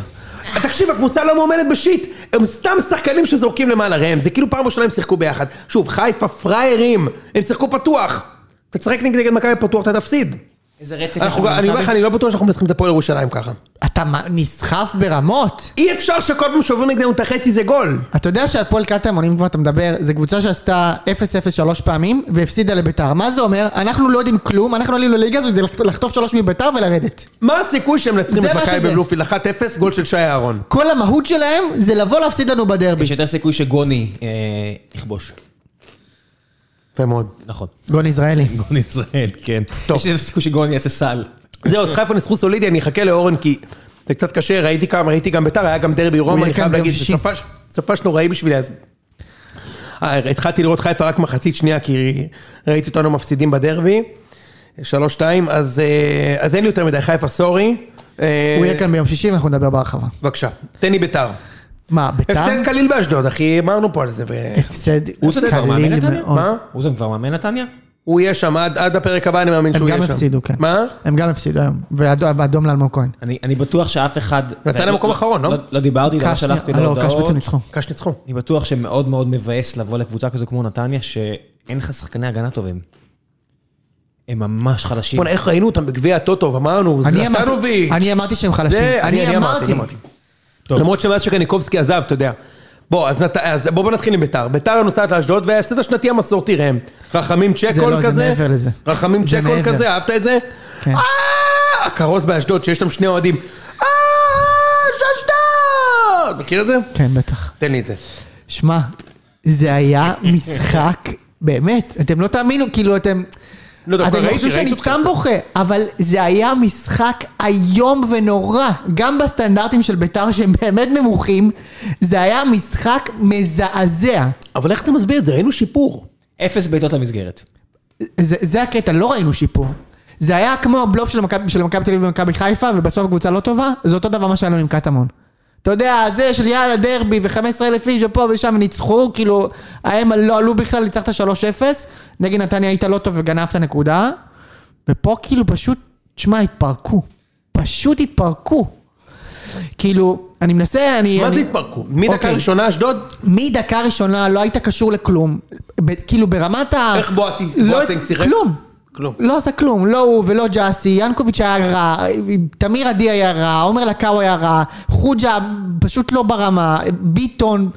תקשיב, הקבוצה לא מאומנת בשיט, הם סתם שחקנים שזורקים למעלה ראם, זה כאילו פעם ראשונה הם שיחקו ביחד. שוב, חיפה פראיירים, הם שיחקו פתוח. אתה תשחק נגד נגד מכבי פתוח, אתה תפסיד.
איזה רצף. יש
אנחנו
לנו
גם- אני אומר לך,
במכבי.
אני לא בטוח שאנחנו מנצחים את הפועל ירושלים ככה.
אתה אתה מה- נסחף ברמות.
אי אפשר שכל פעם שעוברים נגדנו את החצי זה גול.
אתה יודע שהפועל קטמון, אם כבר אתה מדבר, זו קבוצה שעשתה 0-0 שלוש פעמים והפסידה לביתר. מה זה אומר? אנחנו לא יודעים כלום, אנחנו עלינו לליגה הזאת כדי לח- לחטוף שלוש מביתר ולרדת.
מה הסיכוי שהם מנצחים
זה
את
מה
מכבי
שזה.
בבלומפילד 1-0, גול של שי אהרון?
כל המהות שלהם זה לבוא להפסיד לנו בדרבי.
יש יותר סיכוי שגוני אה, יכבוש.
יפה מאוד.
נכון. [LAUGHS]
גון יזרעאלי.
גוני ישראל, כן.
טוב.
יש איזה סיכוי שגוני יעשה סל.
זהו, אז חיפה ניצחו סולידי, אני אחכה לאורן כי זה קצת קשה, ראיתי כמה, ראיתי גם ביתר, היה גם דרבי רומא,
יהיה
אני
כאן
חייב
ביום
להגיד, זה
שישי.
סופש- סופש נוראי בשבילי, אז... אה, התחלתי לראות חיפה רק מחצית שנייה, כי ראיתי אותנו מפסידים בדרבי, שלוש-שתיים, אז אה, אז אין לי יותר מדי, חיפה סורי. אה,
הוא יהיה כאן ביום שישי ואנחנו נדבר בהרחבה.
בבקשה, תן לי ביתר.
מה, ביתר?
הפסד קליל באשדוד, אחי, אמרנו פה על זה, ו-
הפסד
הוא עושה כבר מאמן
קליל
נתניה?
מאוד.
מה?
אוזן כבר מאמן נתניה?
הוא יהיה שם, עד- עד הפרק הבא אני מאמין
הם
שהוא יהיה
גם
שם.
הפסידו, כן.
מה?
הם גם הפסידו היום. ואדום ואדום לאלמוג כהן.
אני אני בטוח שאף אחד...
נתניה
לא-
מקום
לא-
אחרון, לא?
לא דיברתי, לא
קאש,
שלחתי
אה,
לו
לא, קאש
הודעות.
בעצם ניצחו.
קש ניצחו.
אני בטוח שמאוד מאוד מבאס לבוא לקבוצה כזו כמו נתניה, שאין לך שחקני הגנה טובים. הם ממש חלשים.
בוא'נה, איך ראינו אותם בגביע הטוטו, ואמרנו,
אני אמרתי-
זלטנוביץ'.
אני אמרתי שהם חלשים.
זה,
אני אמרתי.
טוב.
למרות שמאז שקניקובסקי עזב, אתה יודע. בוא, אז, נת... אז בוא, בוא נתחיל עם ביתר. ביתר נוסעת לאשדוד, וההפסד השנתי המסורתי ראם. רחמים צ'קול
לא, זה
כזה.
מעבר לזה.
רחמים
זה
צ'קול
מעבר.
כזה, אהבת את זה?
כן.
אה, הכרוז באשדוד, שיש שם שני אוהדים. אה, אשדוד! מכיר את זה?
כן, בטח.
תן לי את זה.
שמע, זה היה משחק, באמת, אתם לא תאמינו, כאילו אתם...
לא, דווקא
אתם לא
ראיתי,
חושבים
ראיתי
שאני
אותך
סתם
קצת.
בוכה, אבל זה היה משחק איום ונורא. גם בסטנדרטים של ביתר שהם באמת נמוכים, זה היה משחק מזעזע.
אבל איך אתה מסביר את זה? ראינו שיפור.
אפס בעיטות למסגרת.
זה, זה הקטע, לא ראינו שיפור. זה היה כמו בלוף של מכבי של מכבי תל אביב ומכבי חיפה, ובסוף קבוצה לא טובה, זה אותו דבר מה שהיה לנו עם קטמון. אתה יודע, זה של יאללה דרבי ו-15 אלף איש ופה ושם ניצחו, כאילו, הם לא עלו בכלל, ניצחת 3-0, נגד נתניה היית לא טוב וגנבת נקודה, ופה כאילו פשוט, תשמע, התפרקו. פשוט התפרקו. כאילו, אני מנסה, אני...
מה זה
אני...
התפרקו? מדקה
אוקיי.
ראשונה אשדוד?
מדקה ראשונה לא היית קשור לכלום. ב, כאילו ברמת ה...
איך בועטי-
לא
בועטנג
הצ-
שיחק?
כלום.
כלום.
לא עשה כלום, לא הוא ולא ג'אסי, ינקוביץ' היה רע, תמיר עדי היה רע, עומר לקאו היה רע, חוג'ה פשוט לא ברמה, ביטון,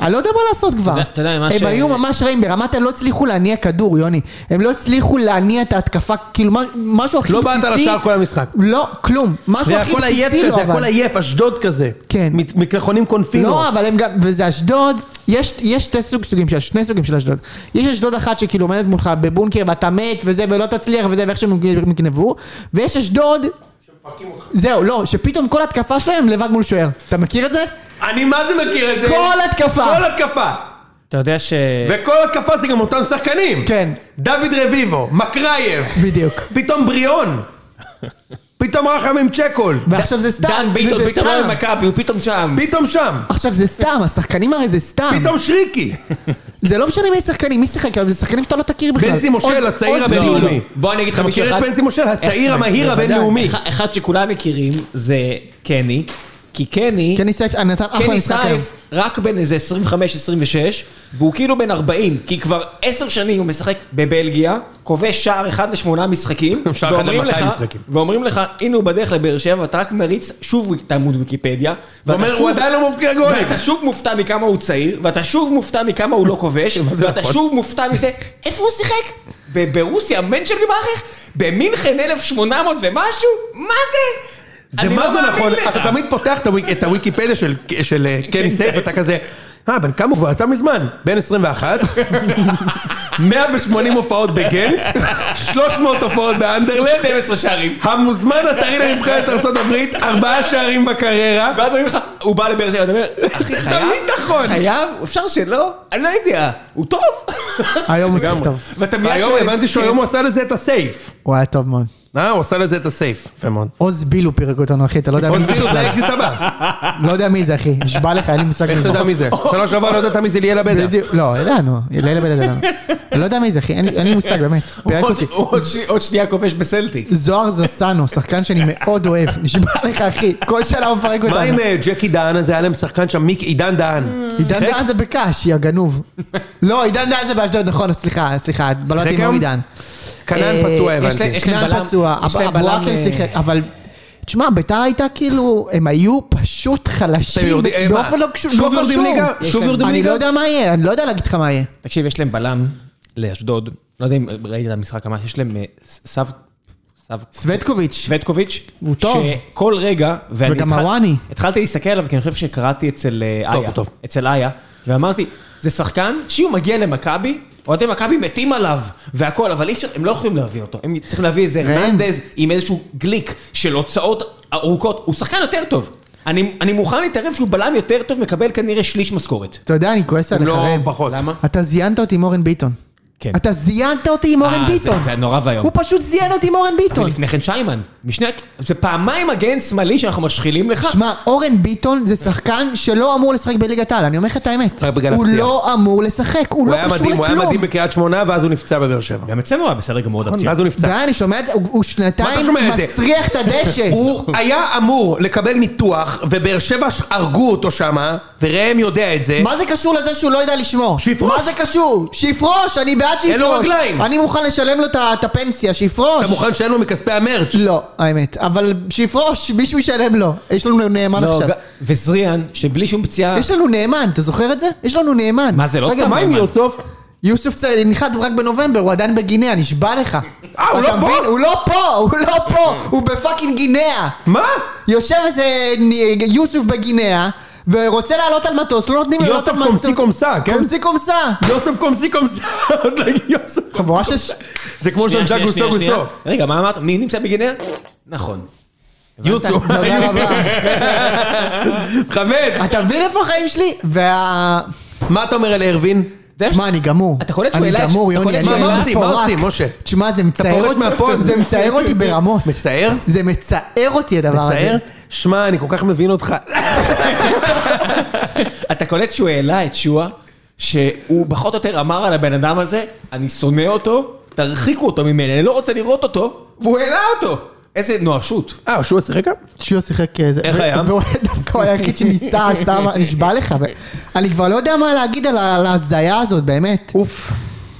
אני לא יודע מה לעשות כבר.
אתה יודע- אתה יודע, מה
הם
ש-
היו ממש רעים, ברמת הם לא הצליחו להניע כדור, יוני. הם לא הצליחו להניע את ההתקפה, כאילו מה- משהו הכי
לא
בסיסי.
בעט על השער כל המשחק.
לא, כלום. משהו
זה
הכי
הכל עייף
בסיסי
כזה,
לא
הכל
עבד.
עייף, אשדוד כזה.
כן.
מת- מקלחונים קונפינו.
לא, אבל הם גם, וזה אשדוד, יש, יש שתי סוג, סוגים של, שני סוגים של אשדוד. יש אשדוד אחת שכאילו עומדת מולך בבונקר ואתה מת וזה ולא תצליח וזה ואיך שהם יגנבו, ויש אשדוד... זהו, לא, שפתאום כל התקפה שלהם לבד מול שוער. אתה מכיר את זה?
אני מה זה מכיר את זה?
כל התקפה.
כל התקפה.
אתה יודע ש...
וכל התקפה זה גם אותם שחקנים.
כן.
דוד רביבו, מקרייב.
בדיוק.
פתאום בריאון. פתאום רחמים צ'קול.
ועכשיו זה סתם,
דן ביטון,
וזה
פתאום
סתם.
על מכבי, הוא פתאום שם.
פתאום שם.
עכשיו זה סתם, השחקנים הרי זה סתם.
פתאום שריקי. זה
זה לא משנה מי שחקנים, מי שיחק היום, זה שחקנים שאתה לא תכיר בכלל.
בנזי מושל,
עוז-
הצעיר
עוז
הבינלאומי.
ביטון.
לא בוא אני אגיד לך
אתה
מישהו
מכיר את
אחד-
בנזי מושל, הצעיר
[LAUGHS]
איך-
המהיר
בוודאי.
הבינלאומי.
אח- אחד שכולם מכירים זה קני, כי קני...
קני סייף, אה, נתן אחלה
קני
משחק היום.
סייף רק בן איזה 25-26, והוא כאילו בן 40, כי כבר עשר שנים הוא משחק בבלגיה, כובש שער אחד לשמונה משחקים,
[LAUGHS] שער אחד
ואומרים
ל-מאתיים
לך-
משחקים.
ואומרים לך, הנה הוא בדרך לבאר שבע, אתה רק מריץ שוב את העמוד ויקיפדיה,
הוא אומר, הוא עדיין לא מבקיע גולים.
ואתה שוב מופתע מכמה הוא צעיר, ואתה שוב מופתע מכמה הוא לא
[LAUGHS]
כובש,
זה
ואתה
נכון?
שוב מופתע מזה, איפה הוא שיחק? ב- ברוסיה, מנצ'ל גמאכך? במינכן 1800 ומשהו? מה זה?
זה
אני
מה
לא
זה
מאמין כן,
נכון,
לך.
אתה תמיד פותח את הוויק- את הוויקיפדיה של- של אה, קני סייף, אתה כזה, אה, בן כמה הוא כבר יצא מזמן? בן
[LAUGHS]
21, 180 הופעות בגנט, 300 הופעות באנדרלכט,
12 שערים.
המוזמן הטרי לנבחרת ארצות הברית, ארבעה שערים בקריירה.
ואז אומרים לך, הוא בא לבאר שבע, אתה אומר, אחי,
זה
חייב?
תמיד נכון.
חייב? אפשר שלא? אני לא יודע. הוא טוב.
היום הוא שיחק
לגמרי.
טוב.
ואתה מיד
היום
שואל- כן.
הבנתי שהיום הוא עשה לזה את הסייף.
הוא היה טוב מאוד.
אה, הוא עשה לזה את הסייף. יפה מאוד.
עוז בילו פירק אותנו אחי, אתה לא יודע
בוא
מי זה
נסביר
בכלל.
זה האקזיט הבא.
לא יודע מי זה אחי, נשבע לך, אין לי מושג
איך אתה יודע מי
[LAUGHS]
זה? שנה שעברה לא ידעת מי זה ליאלה בדה.
בדיוק, לא, ידענו, לילה בן אדם. אני לא יודע מי זה אחי, אין לי- אין לי מושג
[LAUGHS]
באמת. פירק
עוד-
אותי.
עוד ש- עוד שנייה כובש בסלטיק.
זוהר זסנו, שחקן שאני מאוד אוהב, נשבע לך אחי, כל שנה הוא מפרק אותנו.
מה עם אה, ג'קי דהן הזה? היה להם שחקן שם, מיק עידן דהן.
עידן
שיחק?
דהן זה בקאש, יא גנוב. לא, עידן דהן זה באשדוד, נכון, סליחה, סליחה, בלעתי עם
היום?
אורי דהן.
כנען
אה,
פצוע
יש
להם-
הבנתי.
יש להם
כנען
בלם-
פצוע,
יש להם
אבו
בלם,
עקל
אה,
שיחק, אבל... תשמע, ביתר הייתה כאילו, הם היו פשוט
אתם
חלשים
יורדים- אה, מה?
באופן לא קשור.
שוב
לא
יורדים
קשור.
ליגה?
יש
שוב
להם-
יורדים
אני לא
ליגה?
יודע מה יהיה, אני לא יודע להגיד לך מה יהיה.
תקשיב, יש להם בלם לאשדוד, לא יודע אם ראית את המשחק ממש, יש להם אה, ס- סב... סב...
סווטקוביץ',
סווטקוביץ',
הוא טוב.
שכל רגע, ואני
וגם
התחל-
הוואני.
התחלתי להסתכל עליו, כי אני חושב שקראתי אצל אה,
טוב,
איה,
הוא טוב.
אצל איה, ואמרתי, זה שחקן שהוא מגיע למכבי, אוהדי מכבי מתים עליו, והכל, אבל אי אפשר, הם לא יכולים להביא אותו, הם צריכים להביא איזה
ראם.
הרננדז עם איזשהו גליק של הוצאות ארוכות, הוא שחקן יותר טוב. אני, אני מוכן להתערב שהוא בלם יותר טוב, מקבל כנראה שליש משכורת.
אתה יודע, אני כועס עליך,
לא
ראם.
פחות.
למה?
אתה זיינת אותי עם אורן ביטון.
כן.
אתה זיינת אותי עם אורן
אה,
ביטון.
זה, זה נורא ואיום.
הוא פשוט זיין אותי עם אורן ביטון.
ולפני כן שיימן, משני... זה פעמיים מגן שמאלי שאנחנו משחילים לך.
שמע, אורן ביטון זה שחקן שלא אמור לשחק בליגת העל, אני אומר לך את האמת.
רק בגלל
הוא
הפציעה.
לא אמור לשחק, הוא
הוא
לא
היה
קשור
מדהים,
לכלום.
הוא היה מדהים בקריית שמונה, ואז הוא נפצע בבאר שבע.
גם אצלנו היה בסדר גמור עוד
נכון, ואז הוא נפצע.
די, אני שומע את זה, הוא הוא שנתיים
שומע את זה?
מסריח את הדשא.
הוא היה אמור לקבל ניתוח, ובאר שבע ש- הרגו אותו שמה, וראם יודע את זה.
מה זה קשור לזה שהוא לא יודע לשמור?
שיפרוש.
מה זה קשור? שיפרוש, אני בעד שיפרוש.
אין לו רגליים.
אני מוכן לשלם לו את ה- את הפנסיה, שיפרוש.
אתה מוכן שאין לו מכספי המרץ'?
לא, האמת. אבל שיפרוש, מישהו ישלם לו. יש לנו נאמן
לא,
עכשיו.
לא, וזריאן, שבלי שום פציעה...
יש לנו נאמן, אתה זוכר את זה? יש לנו נאמן.
מה זה, לא
רגע,
סתם
מה עם
נאמן.
יוסוף?
יוסוף צ- נחת רק בנובמבר, הוא עדיין בגינאה, נשבע לך.
אה, הוא
אתה
לא פה?
מבין? הוא לא פה, הוא לא פה, הוא בפאקינג גינאה.
מה?
יושב איזה נ- יוסוף בגינאה, ורוצה לעלות על מטוס, לא נותנים לו לעלות
יוסף
על מטוס.
קומסי קומסה, כן?
קומסי קומסה.
יוסף קומסי קומסה. [LAUGHS] עוד לא הגיע יוסף.
חבורה של...
זה כמו
שנייה,
שם
שנייה,
ג'אגו סו
שנייה, שנייה.
גוסו.
רגע, מה אמרת? מי נמצא בגינר? נכון.
יוסוף.
תודה רבה.
[LAUGHS] חמד,
אתה מבין איפה החיים שלי? וה...
מה אתה אומר על הרווין?
תשמע, אני גמור.
אתה קולט שהוא העלה-
אני גמור,
אתה
יוני,
קולט
אני
שהוא
מה
גמור
העלה-
עושים? מה
פורק.
עושים, משה?
תשמע, זה מצער
פורש
אותי.
מהפוד.
זה מצער אותי ברמות.
מצער?
זה מצער אותי הדבר הזה.
מצער? שמע, אני כל כך מבין אותך.
אתה קולט שהוא העלה את שועה, שהוא פחות או יותר אמר על הבן אדם הזה, אני שונא אותו, תרחיקו אותו ממני, אני לא רוצה לראות אותו, והוא העלה אותו. איזה נואשות.
אה, שהוא שיחק גם?
שהוא שיחק איזה...
איך היה?
והוא [LAUGHS] דווקא הוא היחיד
[LAUGHS]
שניסה, עשה מה... נשבע לך. ו- אני כבר לא יודע מה להגיד על ה- על ההזיה הזאת, באמת.
אוף.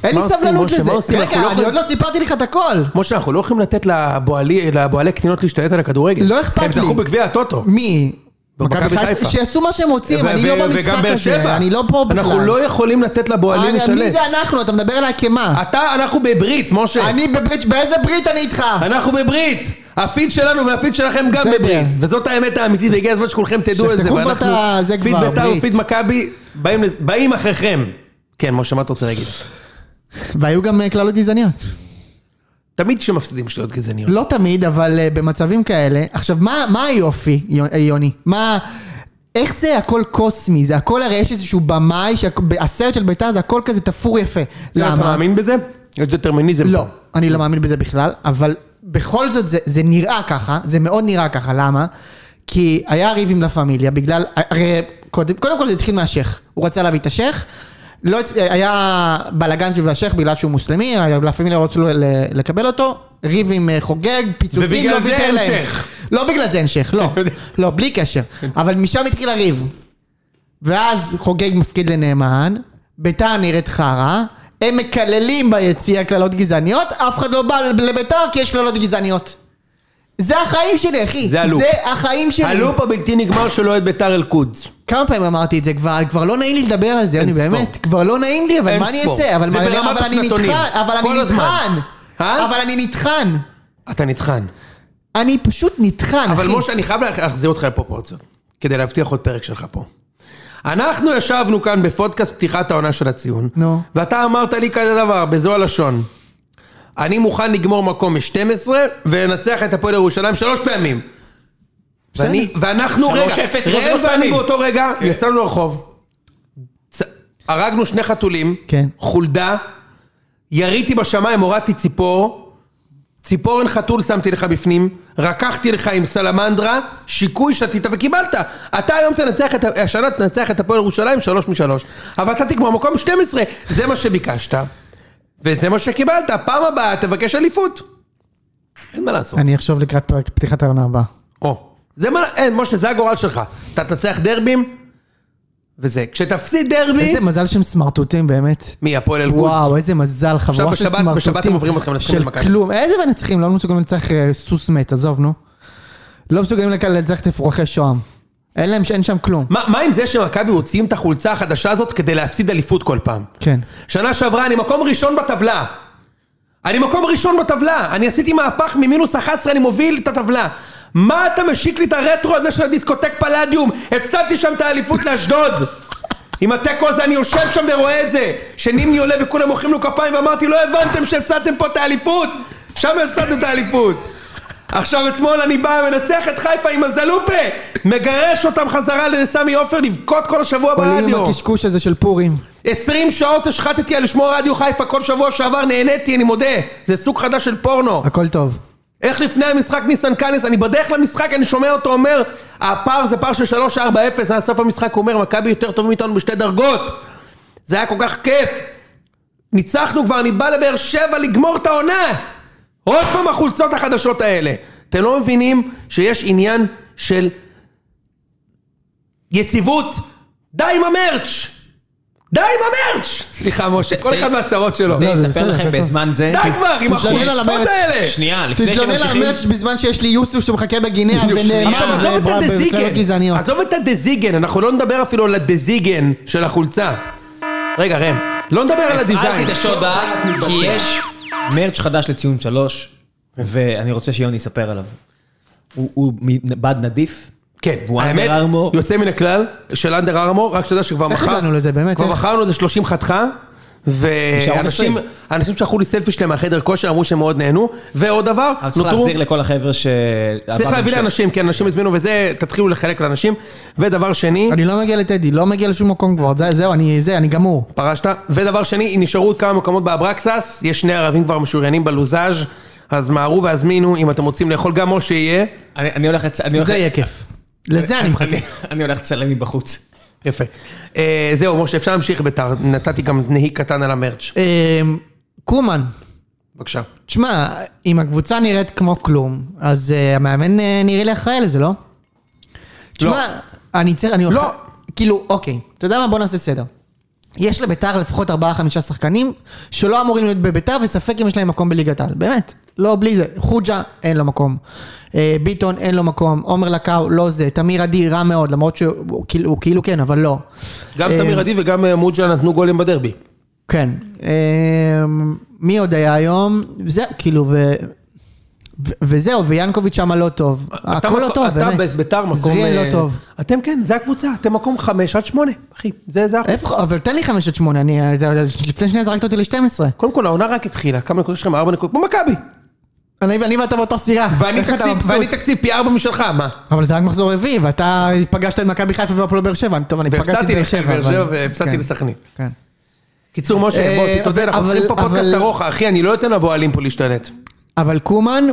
אין לי
מה עושים,
סבלנות
משה?
לזה.
מה עושים? אנחנו לא
רגע, אני
יכולים-
עוד לא סיפרתי לך את הכל.
משה, אנחנו לא יכולים לתת לבועלי- לבועלי קטינות להשתלט על הכדורגל.
לא אכפת
הם
לי.
זכו בגביע הטוטו.
מי?
במכבי חיפה.
שיעשו מה שהם רוצים, אני
ו-
לא
ו- וגם
במשחק
באר
הזה,
שבע.
אני לא פה בכלל.
אנחנו לא יכולים אה, לתת לבועלים
אני- מי
להשתלט.
זה אנחנו? אתה מדבר אליי כמה?
אתה, אנחנו בברית, משה.
אני בברית, באיזה ברית אני איתך?
אנחנו בברית! הפיד שלנו והפיד שלכם גם
בסדר.
בברית. וזאת האמת האמיתית, והגיע הזמן שכולכם תדעו
שתפתחו
את זה.
כבר
ואנחנו,
את ה- זה
פיד
כבר,
בית"ר
ברית.
ופיד מכבי, באים לז- באים אחריכם. כן, משה, מה אתה רוצה להגיד?
והיו גם אה, קללות גזעניות.
תמיד כשמפסידים שטויות גזעניות.
לא תמיד, אבל אה, במצבים כאלה. עכשיו, מה מה היופי, יו- אה, יוני? מה... איך זה הכל קוסמי? זה הכל הרי יש איזשהו במאי, שהכ- הסרט של בית"ר זה הכל כזה תפור יפה.
לא, אתה
למה?
מאמין בזה? יש דטרמיניזם.
לא,
פה.
אני לא מאמין בזה בכלל, אבל בכל זאת זה, זה נראה ככה, זה מאוד נראה ככה, למה? כי היה ריב עם לה פמיליה בגלל, הרי קודם, קודם כל זה התחיל מהשייח, הוא רצה להביא את השייח, לא, הצ- היה בלאגן סביב השייח בגלל שהוא מוסלמי, לה פמיליה לא רצו ל- לקבל אותו, ריב עם אה, חוגג, פיצוצים,
ובגלל
לא
זה
ויתר
אין
להם.
שייח.
לא בגלל זה אין
[LAUGHS]
שייח, לא, לא, בלי קשר, אבל משם התחיל הריב. ואז חוגג מפקיד לנאמן, ביתר נראית חרא, הם מקללים ביציע קללות גזעניות, אף אחד לא בא לביתר כי יש קללות גזעניות. זה החיים שלי, אחי.
זה הלופ.
זה החיים שלי.
הלופ הבלתי נגמר של אוהד ביתר אל-קודס.
כמה פעמים אמרתי את זה כבר, כבר לא נעים לי לדבר על זה, יוני,
ספור.
באמת, כבר לא נעים לי, אבל
אין
מה אני
ספור.
אעשה? אבל
זה
מה אני-
ברמת
אבל אני
השנתונים.
נטחן, אבל
כל
אני
הזמן.
נטחן.
אה?
אבל אני נטחן.
אתה נטחן.
אני פשוט נטחן, אחי.
אבל משה, אני חייב להחזיר אותך לפרופורציות, כדי להבטיח עוד פרק שלך פה. אנחנו ישבנו כאן בפודקאסט פתיחת העונה של הציון,
נו.
ואתה אמרת לי כזה דבר, בזו הלשון. אני מוכן לגמור מקום מ-12 ולנצח את הפועל ירושלים שלוש פעמים.
בסדר.
ואני, ואנחנו,
שלוש
רגע,
אפס,
ראם
שלוש
ואני
פעמים. כן.
באותו רגע יצאנו לרחוב, צ- הרגנו שני חתולים,
כן.
חולדה, יריתי בשמיים, הורדתי ציפור, ציפורן חתול שמתי לך בפנים, רקחתי לך עם סלמנדרה, שיקוי שתית וקיבלת. אתה היום תנצח את, ה- השנה תנצח את הפועל ירושלים שלוש משלוש. אבל אתה תגמר מקום 12, זה מה שביקשת. וזה מה שקיבלת, פעם הבאה תבקש אליפות. אין מה לעשות.
אני אחשוב לקראת פרק פתיחת העונה הבאה.
או. זה מה, אין, משה, זה הגורל שלך. אתה תנצח דרבים, וזה. כשתפסיד דרבי,
איזה מזל שהם סמרטוטים, באמת.
מהפועל אל קודס.
וואו, איזה מזל, חבורה של
בשבת-
סמרטוטים.
בשבת הם עוברים אתכם לנצחים
של
במכבי.
כלום, איזה מנצחים, לא מסוגלים לנצח אה, סוס מת, עזוב, נו. לא מסוגלים לקלל לנצח את אפרוחי שוהם. אין להם, אין שם כלום.
מה, מה עם זה שמכבי מוציאים את החולצה החדשה הזאת כדי להפסיד אליפות כל פעם?
כן.
שנה שעברה אני מקום ראשון בטבלה. אני מקום ראשון בטבלה. אני עשיתי מהפך ממינוס 11, אני מוביל את הטבלה. מה אתה משיק לי את הרטרו הזה של הדיסקוטק פלדיום? הפסדתי שם את האליפות לאשדוד. עם התיקו הזה אני יושב שם ורואה את זה. שנימני עולה וכולם מוחאים לו כפיים ואמרתי לא הבנתם שהפסדתם פה את האליפות? שם הפסדנו את האליפות. עכשיו אתמול אני בא מנצח את חיפה עם הזלופה! מגרש אותם חזרה לסמי עופר לבכות כל השבוע
עולים עם
ברדיו.
הקשקוש הזה של פורים.
20 שעות השחטתי על לשמוע רדיו חיפה כל שבוע שעבר, נהניתי, אני מודה. זה סוג חדש של פורנו.
הכל טוב.
איך לפני המשחק ניסן קאנס, אני בדרך למשחק, אני שומע אותו אומר, הפער זה פער של 3-4-0, על סוף המשחק הוא אומר, מכבי יותר טוב מאיתנו בשתי דרגות. זה היה כל כך כיף. ניצחנו כבר, אני בא לבאר שבע לגמור את העונה! עוד פעם החולצות החדשות האלה. אתם לא מבינים שיש עניין של יציבות? די עם המרץ'! די עם המרץ'! סליחה, משה, כל אחד מהצרות שלו.
לא,
אני
זה
אספר
בסדר,
לכם
הכל טוב.
בזמן זה...
די
כן.
כבר עם
תתלונן על
החולצות
המרץ'.
האלה!
שנייה, לפני
תתלונן על
שממשיכים...
המרץ' בזמן שיש לי יוסוף שמחכה בגינאה ונאמר
עכשיו עזוב את
ב- בקללות
הדזיגן,
לא גזעניות.
עזוב את הדזיגן, אנחנו לא נדבר אפילו על הדזיגן של החולצה. רגע, ראם, לא נדבר על
הפעלתי
הדיזיין.
את השוד בעד, כי יש...
מרץ' חדש לציון שלוש, ואני רוצה שיוני יספר עליו. הוא- הוא מבד נדיף.
כן,
והוא
האמת,
אנדר ארמור.
יוצא מן הכלל של אנדר ארמור, רק שתדע שכבר
איך
מכר...
הגענו לזה, באמת,
כבר
איך?
מכרנו איזה 30 חתיכה.
נשארו
ואנשים
עשרים.
אנשים שלחו לי סלפי שלהם מהחדר כושר, אמרו שהם מאוד נהנו. ועוד דבר,
אבל צריך להחזיר לכל החבר'ה ש...
צריך להביא לאנשים, כן, אנשים הזמינו וזה, תתחילו לחלק לאנשים. ודבר שני,
אני לא מגיע לטדי, לא מגיע לשום מקום כבר, זה- זהו, אני זה, אני גמור.
פרשת. ודבר שני, נשארו עוד כמה מקומות באברקסס, יש שני ערבים כבר משוריינים בלוזאז', אז מהרו והזמינו, אם אתם רוצים לאכול גם משה יהיה.
אני אני הולך... לצ- אני הולך-
זה יהיה כיף. לזה אני מחכה.
אני- אני הולך לצלם מבחוץ.
יפה. אה, זהו, משה, אפשר להמשיך ביתר, נתתי גם נהי קטן על המרץ'.
אמ, קומן,
בבקשה.
תשמע, אם הקבוצה נראית כמו כלום, אז אה, המאמן אה, נראה לי אחראי לזה, לא? תשמע, אני צריך, אני...
לא.
כאילו, אוקיי, אתה יודע מה? בוא נעשה סדר. יש לביתר לפחות 4-5 שחקנים שלא אמורים להיות בביתר, וספק אם יש להם מקום בליגת העל, באמת. לא, בלי זה. חוג'ה, אין לו מקום. אה, ביטון, אין לו מקום. עומר לקאו, לא זה. תמיר עדי, רע מאוד, למרות שהוא כאילו- הוא כאילו כן, אבל לא.
גם תמיר עדי וגם אה, מוג'ה נתנו גולים בדרבי.
כן. אמ, מי עוד היה היום? זה, כאילו, ו... ו- וזהו, ויאנקוביץ' שמה לא טוב.
אתה
הכל לא
מקו-
טוב,
אתה
באמת.
בביתר מקום...
זריאן
אה,
לא טוב.
אתם כן, זה הקבוצה, אתם מקום חמש עד שמונה, אחי. זה זה החוק.
איפה, אבל תן לי חמש עד שמונה, אני... אה, זה- לפני שניה זרקת אותי ל-12.
קודם כל, העונה רק התחילה, כמה נקודות יש לכם? ארבע נקודות, כמו מכבי.
אני אני ואתה באותה סירה.
ואני
איך אתה
תקציב-
מבסוט?
ואני תקציב פי ארבע משלך, מה?
אבל זה רק מחזור רביעי, ואתה פגשת את מכבי חיפה והפועל באר שבע. טוב, אני פגשתי את
והפסדתי
באר
לבאר
שבע.
שבע
אבל-
והפסדתי
כן,
לסכנין.
כן.
קיצור, משה, בוא,
אה,
תתודה,
אבל-
אנחנו עושים פה
אבל-
פודקאסט
אבל-
ארוך, אחי, אני לא אתן לבועלים פה להשתלט.
אבל קומן,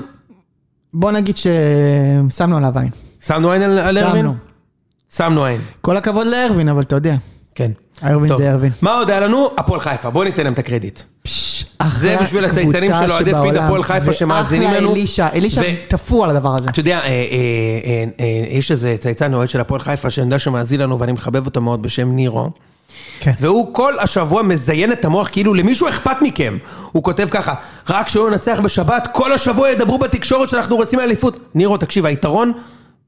בוא נגיד ששמנו עליו עין.
שמנו עין על על ארווין?
שמנו.
שמנו עין,
כל הכבוד לארווין, אבל אתה יודע.
כן.
ארווין
טוב.
זה ארווין.
מה עוד היה לנו? הפועל חיפה, בואו ניתן להם את הקרדיט.
אחלה
זה בשביל
קבוצה
הצייצנים של אוהדי פיד
שבעולם,
הפועל חיפה שמאזינים לנו.
ואחלה אלישע, אלישע
ו-
תפור על הדבר הזה.
אתה יודע, אה, אה, אה, אה, יש איזה צייצן אוהד של הפועל חיפה, שאני יודע שמאזין לנו ואני מחבב אותו מאוד בשם נירו.
כן.
והוא כל השבוע מזיין את המוח כאילו למישהו אכפת מכם. הוא כותב ככה, רק שלא ננצח בשבת, כל השבוע ידברו בתקשורת שאנחנו רוצים אליפות. נירו, תקשיב, היתרון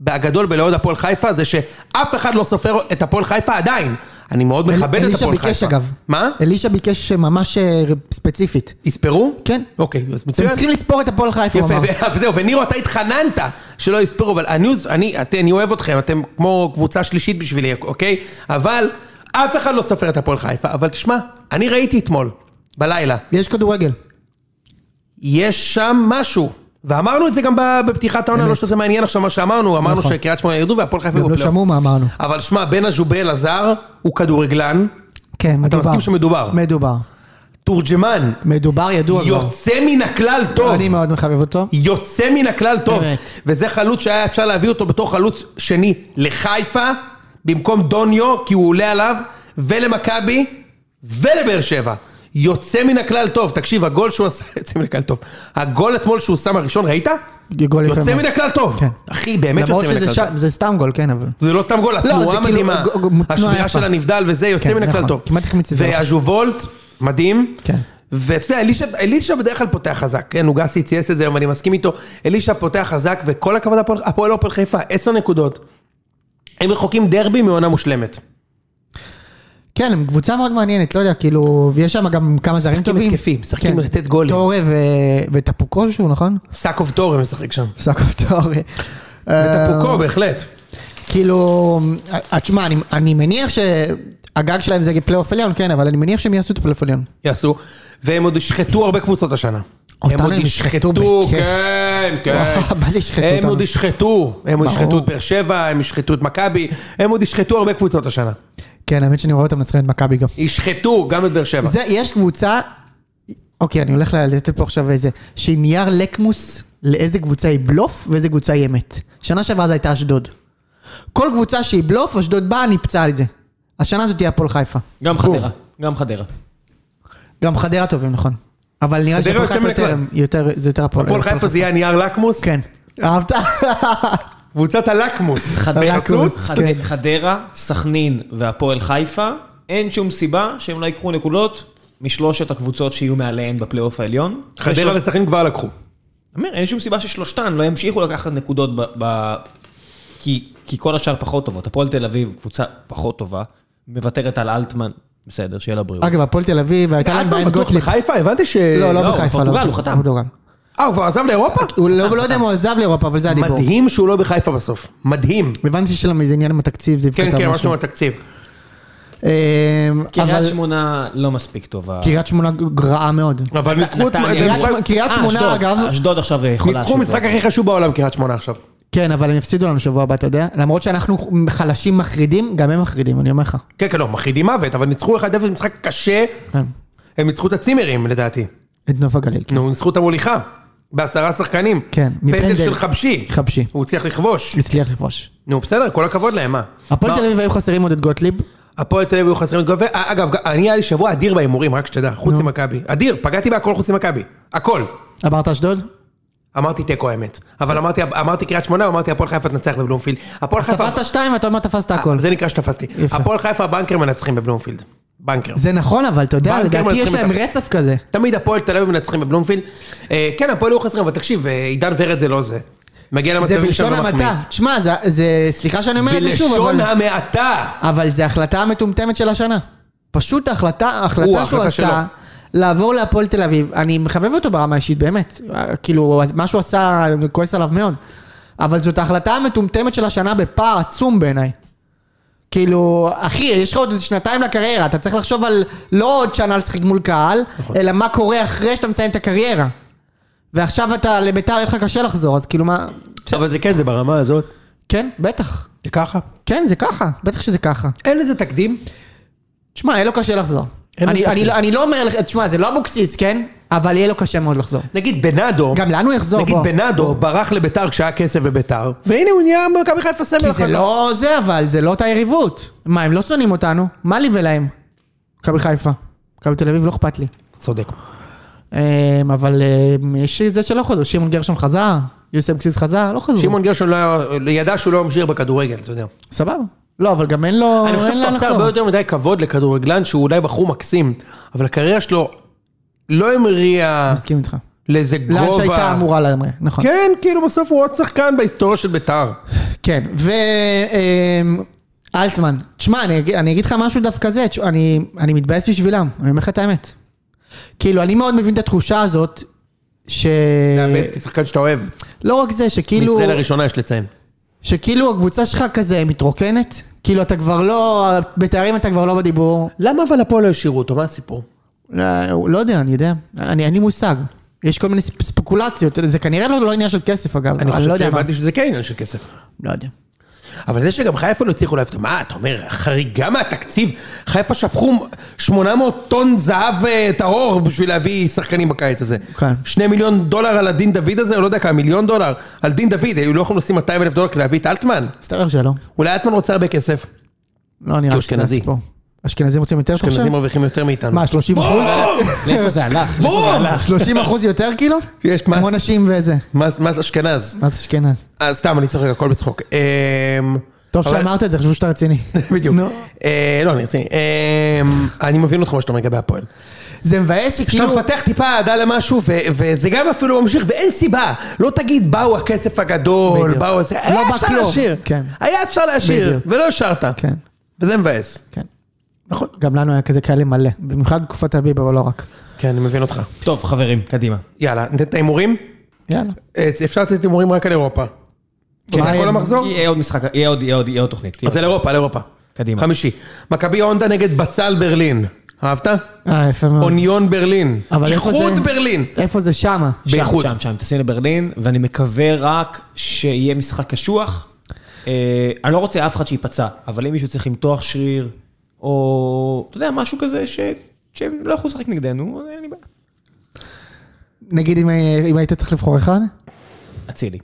הגדול בלאוד הפועל חיפה זה שאף אחד לא סופר את הפועל חיפה עדיין. אני מאוד מכבד את
אלישע
הפועל חיפה.
ביקש אגב.
מה?
אלישע ביקש ממש אה, ספציפית.
יספרו?
כן.
אוקיי, אז
אתם
מצוין.
צריכים לספור את הפועל חיפה, הוא
יפה,
אמר.
ו- וזהו, ונירו, אתה התחננת שלא יספרו, אבל הניוז, אני, את- אני אוהב אתכם, אתם כמו קבוצה שלישית בשבילי, אוקיי? אבל אף אחד לא סופר את הפועל חיפה. אבל תשמע, אני ראיתי אתמול, בלילה,
יש כדורגל.
יש שם משהו. ואמרנו את זה גם ב- בפתיחת העונה, לא שזה מעניין עכשיו מה שאמרנו, אמרנו
נכון.
שקריית שמונה ירדו והפועל חיפה
גם לא
בפלייאוף.
שמעו מה אמרנו.
אבל שמע, בן הז'ובל עזר, הוא כדורגלן,
כן, מדובר.
מסכים שמדובר?
מדובר.
תורג'מן,
מדובר, ידוע כבר.
יוצא מן הכלל טוב.
אני מאוד מחבב אותו.
יוצא מן הכלל טוב.
באמת.
וזה חלוץ שהיה אפשר להביא אותו בתור חלוץ שני לחיפה, במקום דוניו, כי הוא עולה עליו, ולמכבי, ולבאר שבע. יוצא מן הכלל טוב. תקשיב, הגול שהוא עשה, [LAUGHS] יוצא מן הכלל טוב. הגול אתמול שהוא שם הראשון, ראית?
גול יפה
יוצא
מאוד.
מן הכלל טוב.
כן.
אחי, באמת
למרות
יוצא מן הכלל
שזה
טוב.
ש- זה סתם גול, כן, אבל...
זה לא סתם גול,
זה
התנועה
כאילו
מדהימה.
גו- גו- תנועה
השבירה
יפה.
של הנבדל וזה, יוצא
כן,
מן הכלל
נכון.
טוב.
כמעט החמיץ את זה.
והז'ובולט, מדהים.
כן.
ואתה יודע, אלישע, אלישע בדרך כלל פותח חזק, כן, נוגסי צייס את זה, ואני מסכים איתו, אלישע פותח חזק, וכל הכבוד הפועל- הפועל הפועל חיפה, עשר נקודות. הם רחוקים דרבי מעונה מושלמת.
כן, הם קבוצה מאוד מעניינת, לא יודע, כאילו, ויש שם גם כמה זרים
משחקים
טובים.
התקפי, משחקים
כן.
לתת גולים.
טורה ו- וטפוקושו, נכון?
סאקוב טורם משחק שם.
סאקוב טורה.
וטפוקו, בהחלט.
כאילו, אה, תשמע, אני- אני מניח שהגג שלהם זה פלייאוף עליון, כן, אבל אני מניח שהם יעשו את הפלייאוף עליון.
יעשו, והם עוד ישחטו הרבה קבוצות השנה.
אותנו
הם עוד
הם ישחטו
ישחטו,
בכיף.
כן, כן.
[LAUGHS] מה זה ישחטו
הם
אותנו?
עוד ישחטו, הם עוד
ברור.
ישחטו את באר שבע, הם ישחטו את מכבי, הם עוד ישחטו הרבה קבוצות השנה.
כן, האמת שאני רואה אותם מנצחים את מכבי גם.
ישחטו גם את באר שבע.
זה, יש קבוצה, אוקיי, אני הולך לתת פה עכשיו איזה, שהיא נייר לקמוס לאיזה קבוצה היא בלוף ואיזה קבוצה היא אמת. שנה שעברה זו הייתה אשדוד. כל קבוצה שהיא בלוף, אשדוד באה, ניפצה על זה. השנה הזאת תהיה הפועל חיפה.
גם חדרה, גם חדרה.
גם חדרה טובים, נכון. אבל נראה
חדרה
לי שהפועל
יוצא
חיפה
מן הכלל.
יותר, יותר, זה יותר הפועל.
הפועל חיפה זה יהיה הנייר לקמוס,
כן.
[LAUGHS]
אהבת?
קבוצת הלקמוס.
הלקמוס.
בחסות.
חד-
כן.
חדרה, סכנין והפועל חיפה, אין שום סיבה שהם לא ייקחו נקודות משלושת הקבוצות שיהיו מעליהן בפלייאוף העליון.
חדרה
ושלוש-
וסכנין כבר לקחו.
אומר, אין שום סיבה ששלושתן לא ימשיכו לקחת נקודות ב... ב... כי, כי כל השאר פחות טובות. הפועל תל אביב, קבוצה פחות טובה, מוותרת על אלטמן, בסדר, שיהיה לה בריאות.
אגב, הפועל תל אביב, הייתה להם בעיה עם גוטליב.
אה, לא בחיפה? הבנתי ש...
לא,
לא,
לא
הוא
בחיפה.
בפורטוגל,
לא,
הוא חתם.
בפורטוגל.
אה, הוא כבר עזב לאירופה?
הוא לא לא יודע אם הוא עזב לאירופה, אבל זה הדיבור.
מדהים שהוא לא בחיפה בסוף. מדהים.
הבנתי שלמה זה עניין עם התקציב, זיו
כן,
כתב
כן, משהו מהתקציב.
אמ, אבל
קריית שמונה לא מספיק טובה.
קריית שמונה רעה מאוד.
אבל ניצחו את...
נתניה.
קריית
ניצחו-
שמונה- קריית
אה,
שמונה,
אשדוד.
אגב.
אשדוד עכשיו אה, יכולה...
ניצחו
שוב.
משחק הכי חשוב בעולם, קריית שמונה עכשיו.
כן, אבל הם יפסידו לנו שבוע הבא, אתה יודע? למרות שאנחנו חלשים מחרידים, גם הם מחרידים, אני אומר לך.
כן, כן, לא, מחרידים מוות, אבל ניצחו 1-0 משחק קשה.
כן.
הם ניצחו את הצימרים, לדעתי.
את נוף הגליל. כן.
נו, הם ניצחו את המוליכה. בעשרה שחקנים.
כן,
פנדל
מפנדל. כן.
של חבשי.
חבשי.
הוא הצליח לכבוש.
כן. הצליח לכבוש.
נו, בסדר, כל הכבוד להם, מה?
הפועל
מה?
תל אביב היו חסרים עוד את גוטליב.
הפועל תל אביב היו חסרים את גובה. אה, אגב, אני היה לי שבוע אדיר בהימורים, רק שתדע. חוץ ממכבי. אדיר, פגעתי בהכל חוץ ממכבי. הכל.
אמרת אשדוד?
אמרתי תיקו האמת. אבל אמרתי- אמרתי קריית שמונה, אמרתי הפועל חיפה תנצח בבלומפילד. הפועל חיפה... אה,
תפסת שתיים ואתה אומר תפסת הכל.
זה נקרא שתפסתי.
יפה.
הפועל חיפה בנקר מנצחים בבלומפילד. בנקר.
זה נכון, אבל אתה יודע,
בנקר
לדעתי יש
מנצחים
להם
אותם.
רצף כזה.
תמיד הפועל תל אביב מנצחים בבלומפילד. אה, כן, הפועל היו חסרים, אבל תקשיב, אה, עידן ורד זה לא זה. מגיע
זה
למצבים
בלשון
לא
המעטה.
מחמיץ.
תשמע, זה- זה... סליחה שאני אומר את זה שוב, אבל...
בלשון המעטה.
אבל זו ההחלטה המטומטמת של השנה. פשוט ההחלטה,
הוא,
ההחלטה שהוא
ההחלטה
עשה, לעבור להפועל תל אביב, אני מחבב אותו ברמה האישית, באמת. כאילו, מה שהוא עשה, אני כועס עליו מאוד. אבל זאת ההחלטה המטומטמת של השנה בפער עצום בעיניי. כאילו, אחי, יש לך עוד איזה שנתיים לקריירה, אתה צריך לחשוב על לא עוד שנה לשחק מול קהל,
נכון.
אלא מה קורה אחרי שאתה מסיים את הקריירה. ועכשיו אתה, לביתר יהיה לך קשה לחזור, אז כאילו מה...
אבל זה כן, זה ברמה הזאת.
כן, בטח.
זה ככה.
כן, זה ככה, בטח שזה ככה.
אין לזה תקדים.
תשמע, יהיה לו קשה לחזור.
אין
אני,
לו
אני,
תקדים.
לא- אני לא אומר לך, תשמע, זה לא אבוקסיס, כן? אבל יהיה לו קשה מאוד לחזור.
נגיד בנאדו,
גם לאן הוא יחזור?
אוקיי. נגיד
בוא.
בנאדו ברח לביתר כשהיה כסף בביתר, והנה הוא נהיה מכבי חיפה סמל
כי
אחר
זה
כך.
לא זה, אבל זה לא אותה יריבות. מה, הם לא שונאים אותנו? מה לי ולהם? מכבי חיפה. מכבי תל אביב לא אכפת לי.
צודק.
אמ, אבל אמ, יש זה שלא חוזר, שמעון גרשון חזר, יוסי אבוקסיס חזר, לא חזרו.
שמעון גרשון לא היה- ידע שהוא לא ממשיך בכדורגל, אתה יודע.
סבבה. לא, אבל גם אין לו...
אני חושב
אין
שאתה
לאן
עושה
לחזור.
הרבה יותר מדי כבוד לכדורגלן שהוא אולי בחור מקסים, אבל הקריירה שלו לא המריאה
מסכים איתך.
לאיזה גובה.
לאן שהייתה אמורה להמריא, נכון.
כן, כאילו בסוף הוא עוד שחקן בהיסטוריה של ביתר.
כן, ו... אמ, אלטמן, תשמע, אני, אגיד- אני אגיד לך משהו דווקא זה, תש- אני, אני מתבאס בשבילם, אני אומר לך את האמת. כאילו, אני מאוד מבין את התחושה הזאת, ש...
באמת, כשחקן שאתה אוהב.
לא רק זה, שכאילו...
מישראל הראשונה יש לציין.
שכאילו הקבוצה שלך כזה מתרוקנת, כאילו אתה כבר לא... בתארים אתה כבר לא בדיבור.
למה אבל הפועל לא השאירו אותו? מה הסיפור?
לא, לא יודע, אני יודע, אני, אין לי מושג. יש כל מיני ספ- ספקולציות, זה כנראה לא, לא עניין של כסף אגב,
אני
לא
חושב
יודע מה.
שהבנתי שזה כן עניין של כסף.
לא יודע.
אבל זה שגם חיפה לא הצליחו להבטיח, מה אתה אומר, חריגה מהתקציב? חיפה שפכו 800 טון זהב אה, טהור בשביל להביא שחקנים בקיץ הזה.
כן.
שני מיליון דולר על הדין דוד הזה, או לא יודע כמה, מיליון דולר על דין דוד, היו לא יכולים לשים 200 אלף דולר כדי להביא את אלטמן?
מסתבר שלא.
אולי אלטמן רוצה הרבה כסף.
לא נראה
כי הוא
לי
אשכנזי.
הסיפור. אשכנזים רוצים יותר אתה חושב?
אשכנזים מרוויחים יותר מאיתנו.
מה, 30 אחוז?
לאיפה זה הלך?
[LAUGHS]
בום!
30 אחוז יותר כאילו?
יש מס.
כמו נשים וזה.
מה זה- מה זה אשכנז?
מה זה אשכנז?
אה, סתם, אני צוחק, הכל בצחוק. אמ,
טוב
אבל-
שאמרת את זה, חשבו שאתה רציני.
[LAUGHS] בדיוק.
נו.
אה, לא, אני רציני. אמ, אני מבין אותך מה שאתה אומר לגבי הפועל.
זה מבאס
כשאתה
שכאילו...
מפתח טיפה אהדה למשהו, ו- וזה גם אפילו ממשיך, ואין סיבה. לא תגיד, באו הכסף הגדול,
בדיוק.
באו זה,
לא
היה
בא
אפשר
כלום.
להשאיר.
כן.
היה אפשר להשאיר,
בדיוק.
ולא השארת.
כן,
וזה מבאס.
כן.
נכון.
גם לנו היה כזה כאלה מלא. במיוחד בתקופת הביב, אבל לא רק.
כן, אני מבין אותך.
[LAUGHS] טוב, חברים, קדימה.
יאללה, ניתן את ההימורים?
יאללה.
אה, אפשר לתת הימורים רק על אירופה. כן,
מה
זה
הם?
כל המחזור?
יהיה עוד משחק, יהיה עוד- יהיה עוד- יהיה עוד
כן.
תוכנית.
אז על אירופה, על אירופה.
קדימה.
חמישי. מכבי הונדה נגד בצל ברלין. אהבת?
אה, יפה מאוד.
אוניון ברלין.
אבל איפה
איחוד
זה?
ברלין.
איפה זה שמה?
שם,
באיכות.
שם, שם, תשים לברלין, ואני מקווה רק שיהיה משחק קשוח. אה, אני לא רוצה אף אחד שייפצע, אבל אם מישהו צריך למתוח שריר, או, אתה יודע, משהו כזה, ש- שהם לא יכולו לשחק נגדנו, אז אין לי בעיה.
נגיד אם, אם היית צריך לבחור אחד?
אצילי.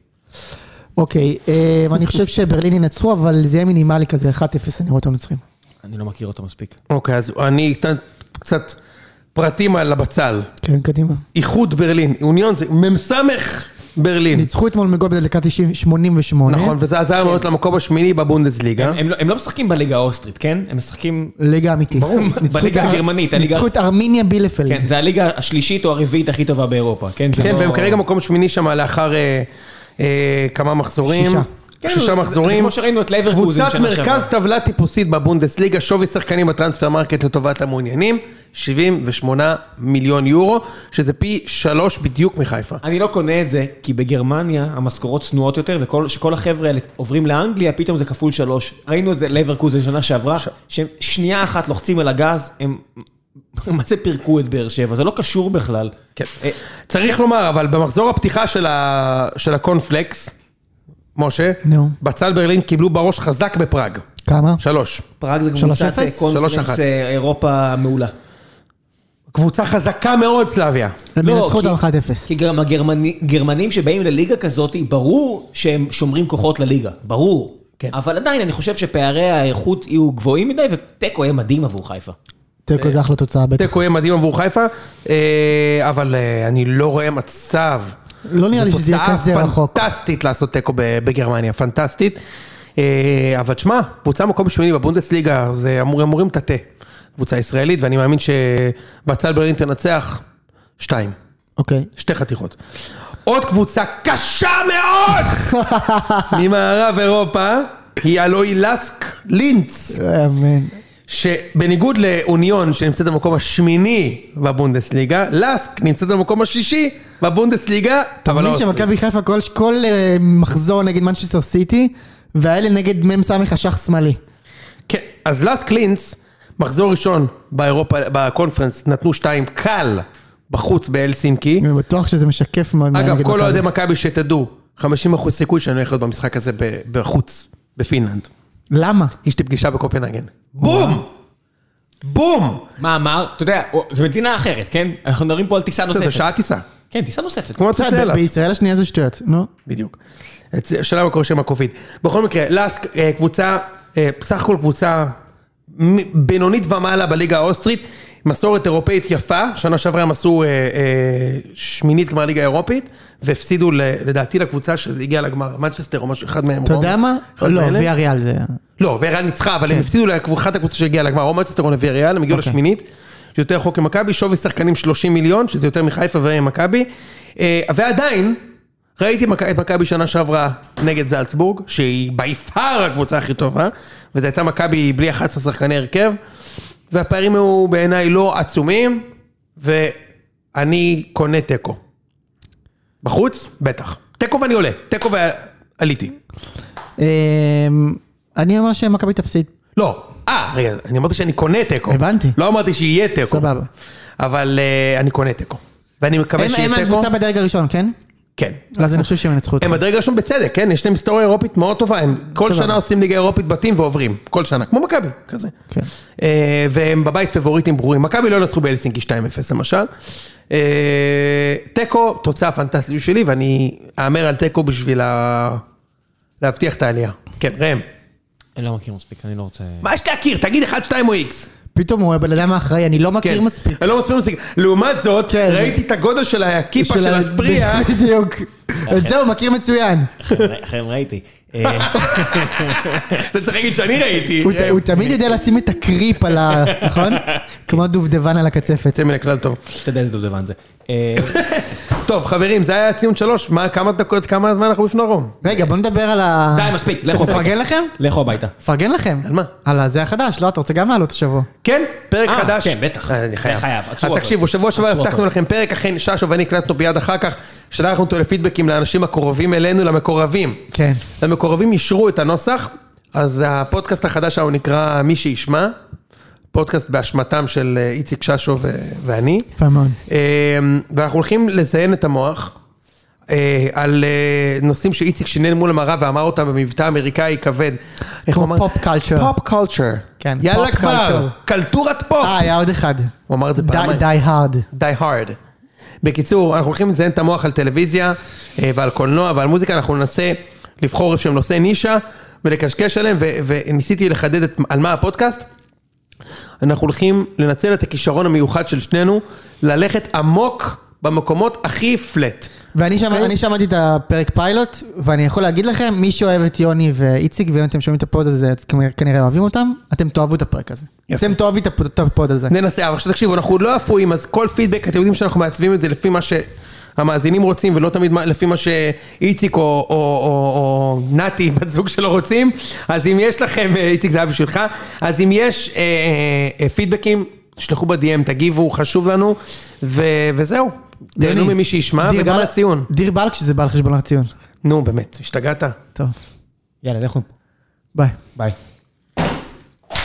אוקיי, אמ, אני חושב שברלין ינצחו, אבל זה יהיה מינימלי כזה, 1-0 אני רואה אותם מנצחים.
אני לא מכיר אותו מספיק.
אוקיי, אז אני אתן קצת פרטים על הבצל.
כן, קדימה.
איחוד ברלין, אוניון זה מ"ס ברלין.
ניצחו אתמול מגול בדקה 90, 88.
נכון, וזה עזר מאוד למקום השמיני בבונדסליגה.
הם לא- הם לא משחקים בליגה האוסטרית, כן? הם משחקים...
ליגה אמיתית.
ברור,
ניצחו
בליגה
את-
הגרמנית, הליגה-
ניצחו את ארמיניה בילפלד.
כן, זה הליגה השלישית או הרביעית הכי טובה באירופה, כן? זה
כן,
לא-
והם כרגע מקום שמיני שם לאחר אה, אה, כמה מחזורים.
שישה.
כן, זה-
שישה
זה- זה
מחזורים.
כמו שראינו את לייברקוזן
קבוצת
שנה שעברה.
מרכז טבלה טיפוסית בבונדסליגה, שווי שחקנים בטרנספר מרקט לטובת המעוניינים, 78 מיליון יורו, שזה פי שלוש בדיוק מחיפה.
אני לא קונה את זה, כי בגרמניה המשכורות צנועות יותר, וכשכל החבר'ה האלה עוברים לאנגליה, פתאום זה כפול שלוש. ראינו את זה לברקוזן שנה שעברה, שהם שנייה אחת לוחצים על הגז, הם... [LAUGHS] מה זה פירקו את באר שבע? זה לא קשור בכלל.
כן. צריך לומר, אבל במחזור הפתיחה של, ה... של הקונפלקס, משה,
נו.
בצל ברלין קיבלו בראש חזק בפראג.
כמה?
שלוש.
פראג זה
שלוש
קבוצת
אפס?
אה, קונפרנס
3-1.
אה, אירופה מעולה.
קבוצה חזקה מאוד, סלאביה.
הם
לא,
ינצחו
כי-
אותם 1-0.
אה,
כי גם הגרמנים שבאים לליגה כזאת, ברור שהם שומרים כוחות לליגה, ברור.
כן.
אבל עדיין, אני חושב שפערי האיכות יהיו גבוהים מדי, ותיקו יהיה מדהים עבור חיפה.
תיקו זה אחלה תוצאה בטח.
תיקו יהיה מדהים עבור חיפה, אה, אבל אה, אני לא רואה מצב.
לא נראה לי שזה יהיה כזה
זו
רחוק.
תוצאה פנטסטית לעשות תיקו ב- בגרמניה, פנטסטית. אה, אבל שמע, קבוצה מקום שמיני בבונדסליגה, זה אמור, אמורים לטאטא. קבוצה ישראלית, ואני מאמין שבצל ברלין תנצח שתיים,
אוקיי.
שתי חתיכות. עוד קבוצה קשה
[LAUGHS]
מאוד ממערב אירופה, היא הלוי לאסק לינץ.
אמן.
שבניגוד לאוניון שנמצאת במקום השמיני בבונדסליגה, לאסק נמצאת במקום השישי בבונדסליגה, אבל לא
מי
אוסטרית.
שמכבי חיפה כל- כל אה, מחזור נגד מנצ'סטר סיטי, והאלה נגד מ"ס השח שמאלי.
כן, אז לאסק לינץ, מחזור ראשון באירופה, בקונפרנס, נתנו שתיים קל בחוץ בהלסינקי.
אני בטוח שזה משקף מאוד. מה
אגב,
נגד
כל
מכבי.
אוהדי מכבי שתדעו, 50% סיכוי שאני הולך להיות במשחק הזה ב- בחוץ, בפינלנד.
למה?
יש לי פגישה בקופנהגן. בום! בום!
מה אמר? אתה יודע, או- זו מדינה אחרת, כן? אנחנו מדברים פה על טיסה
זה
נוספת.
שעה טיסה,
כן, טיסה נוספת.
כמו
בסדר,
הצלצלת.
בישראל השנייה זה שטויות, נו.
בדיוק. אצ- השאלה מה קורה שם הקוביד. בכל מקרה, לאסק אה, קבוצה, אה, בסך הכל קבוצה מ- בינונית ומעלה בליגה האוסטרית, מסורת אירופאית יפה, שנה שעברה הם עשו אה, אה, שמינית גמר ליגה אירופית, והפסידו ל- לדעתי לקבוצה שהגיעה לגמר, מנצ'סטר או משהו, אחד מהם.
אתה
רום,
יודע מה?
אחד
לא,
מאלה.
ויה ריאל זה...
לא, ויאריאל ניצחה, אבל הם הפסידו לאחת הקבוצה שהגיעה לגמר, או מנצ'סטר או נביא ריאל, הם הגיעו לשמינית, יותר חוק ממכבי, שווי שחקנים 30 מיליון, שזה יותר מחיפה ומכבי, אה, ועדיין, ראיתי מכ- את מכבי שנה שעברה נגד זלצבורג, שהיא בי פאר הקבוצה הכי טובה, וזו הייתה מכבי בלי 11 שחקני הרכב, והפערים היו בעיניי לא עצומים, ואני קונה תיקו. בחוץ? בטח. תיקו ואני עולה, תיקו ועליתי.
אמ, אני אומר שמכבי תפסיד.
לא, אה, רגע, אני אמרתי שאני קונה תיקו.
הבנתי.
לא אמרתי שיהיה תיקו.
סבבה.
אבל אה, אני קונה תיקו. ואני מקווה
הם
שיהיה
הם
תיקו.
הקבוצה בדרג הראשון, כן?
כן.
אז אני חושב שהם ינצחו אותם.
הם בדרג הראשון בצדק, כן? יש להם היסטוריה אירופית מאוד טובה, הם כל
סבבה.
שנה עושים ליגה אירופית בתים ועוברים. כל שנה, כמו מכבי, כזה.
כן.
אה, והם בבית פבוריטים ברורים. מכבי לא ינצחו בהלסינקי 2-0 למשל. אה, תיקו, תוצאה פנטסטית בשבילי, ואני אהמר על תיקו בשביל ה- להבטיח את העלייה. כן, ראם.
אני לא מכיר מספיק, אני לא רוצה...
מה יש להכיר? תגיד 1, 2 או איקס.
פתאום הוא הבן אדם האחראי, אני לא מכיר מספיק.
אני לא מספיק מספיק. לעומת זאת,
כן.
ראיתי את הגודל של הכיפה
של
של
ה-
הספריה.
[LAUGHS]
[LAUGHS]
בדיוק. את זה הוא מכיר מצוין.
אכן ראיתי. אה,
אתה צריך להגיד שאני ראיתי.
הוא ת- הוא תמיד יודע לשים את הקריפ על ה...
[LAUGHS]
נכון? כמו דובדבן על הקצפת.
יוצא מן הכלל טוב.
אתה יודע איזה דובדבן זה. אה,
טוב, חברים, זה היה ציון שלוש. מה, כמה דקות, כמה זמן אנחנו בפני רום?
רגע, בוא נדבר על ה...
די, מספיק, לכו הביתה.
מפרגן לכם?
לכו הביתה.
מפרגן לכם.
על מה?
על הזה החדש, לא? אתה רוצה גם לעלות השבוע.
כן, פרק
אה,
חדש.
כן, בטח.
אה, אני
זה
חייב.
חייב,
אז
עצרו אותו.
תקשיבו, שבוע שעבר
עצרו
הבטחנו
אותו.
לכם פרק, אכן ששו ואני הקלטנו ביד אחר כך, שלחנו אותו לפידבקים לאנשים הקרובים אלינו, למקורבים.
כן.
למקורבים אישרו את הנוסח, אז הפודקאסט החדש שלנו נקרא מי שישמע, פודקאסט באשמתם של אה, איציק ששו ו- ואני.
יפה מאוד.
אה, ואנחנו הולכים לזיין את המוח. אה, על אה, נושאים שאיציק שינן מול המראה ואמר אותם במבטא אמריקאי כבד. איך הוא אמר?
פופ קולצ'ר.
פופ קולצ'ר.
כן,
יאללה
פופ
כבר,
קולצ'ר.
קלטורת פופ.
אה, היה עוד אחד.
הוא אמר את זה פעמיים.
די הארד.
די hard. בקיצור, אנחנו הולכים לזיין את המוח על טלוויזיה אה, ועל קולנוע ועל מוזיקה, אנחנו ננסה לבחור איזשהם נושאי נישה ולקשקש עליהם, ו- וניסיתי לחדד את, על מה הפודקאסט. אנחנו הולכים לנצל את הכישרון המיוחד של שנינו, ללכת עמוק במקומות הכי פלט.
ואני שמע-
אוקיי.
אני שמעתי את הפרק פיילוט, ואני יכול להגיד לכם, מי שאוהב את יוני ואיציק, ואם אתם שומעים את הפוד הזה, אז כנראה- כנראה אוהבים אותם, אתם תאהבו את הפרק הזה.
יפה.
אתם תאהבו את הפוד- את הפוד הזה.
ננסה, אבל עכשיו תקשיבו, אנחנו עוד לא אפויים, אז כל פידבק, אתם יודעים שאנחנו מעצבים את זה לפי מה שהמאזינים רוצים, ולא תמיד מה- לפי מה שאיציק או, או, או, או נתי, [LAUGHS] בת זוג שלו רוצים, אז אם יש לכם, אה, איציק זה היה בשבילך, אז אם יש אה, אה, פידבקים, תשלחו ב-DM, תגיבו, חשוב לנו, ו, וזהו. תהנו
יוני,
ממי שישמע,
דיר
וגם
בל-
לציון.
דיר בלק שזה בא על חשבון הציון.
נו, באמת, השתגעת?
טוב,
יאללה, לכו.
ביי.
ביי.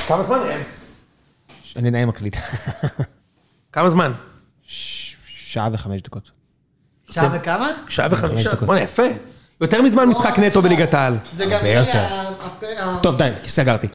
כמה זמן אה? ראם?
אני נעים מקליט.
כמה זמן?
ש- שעה וחמש דקות.
שעה וכמה?
שעה וחמישה.
דקות.
בוא'נה, יפה. יותר מזמן משחק נטו בליגת העל.
זה גם
הרבה יהיה יותר. טוב, די, סגרתי.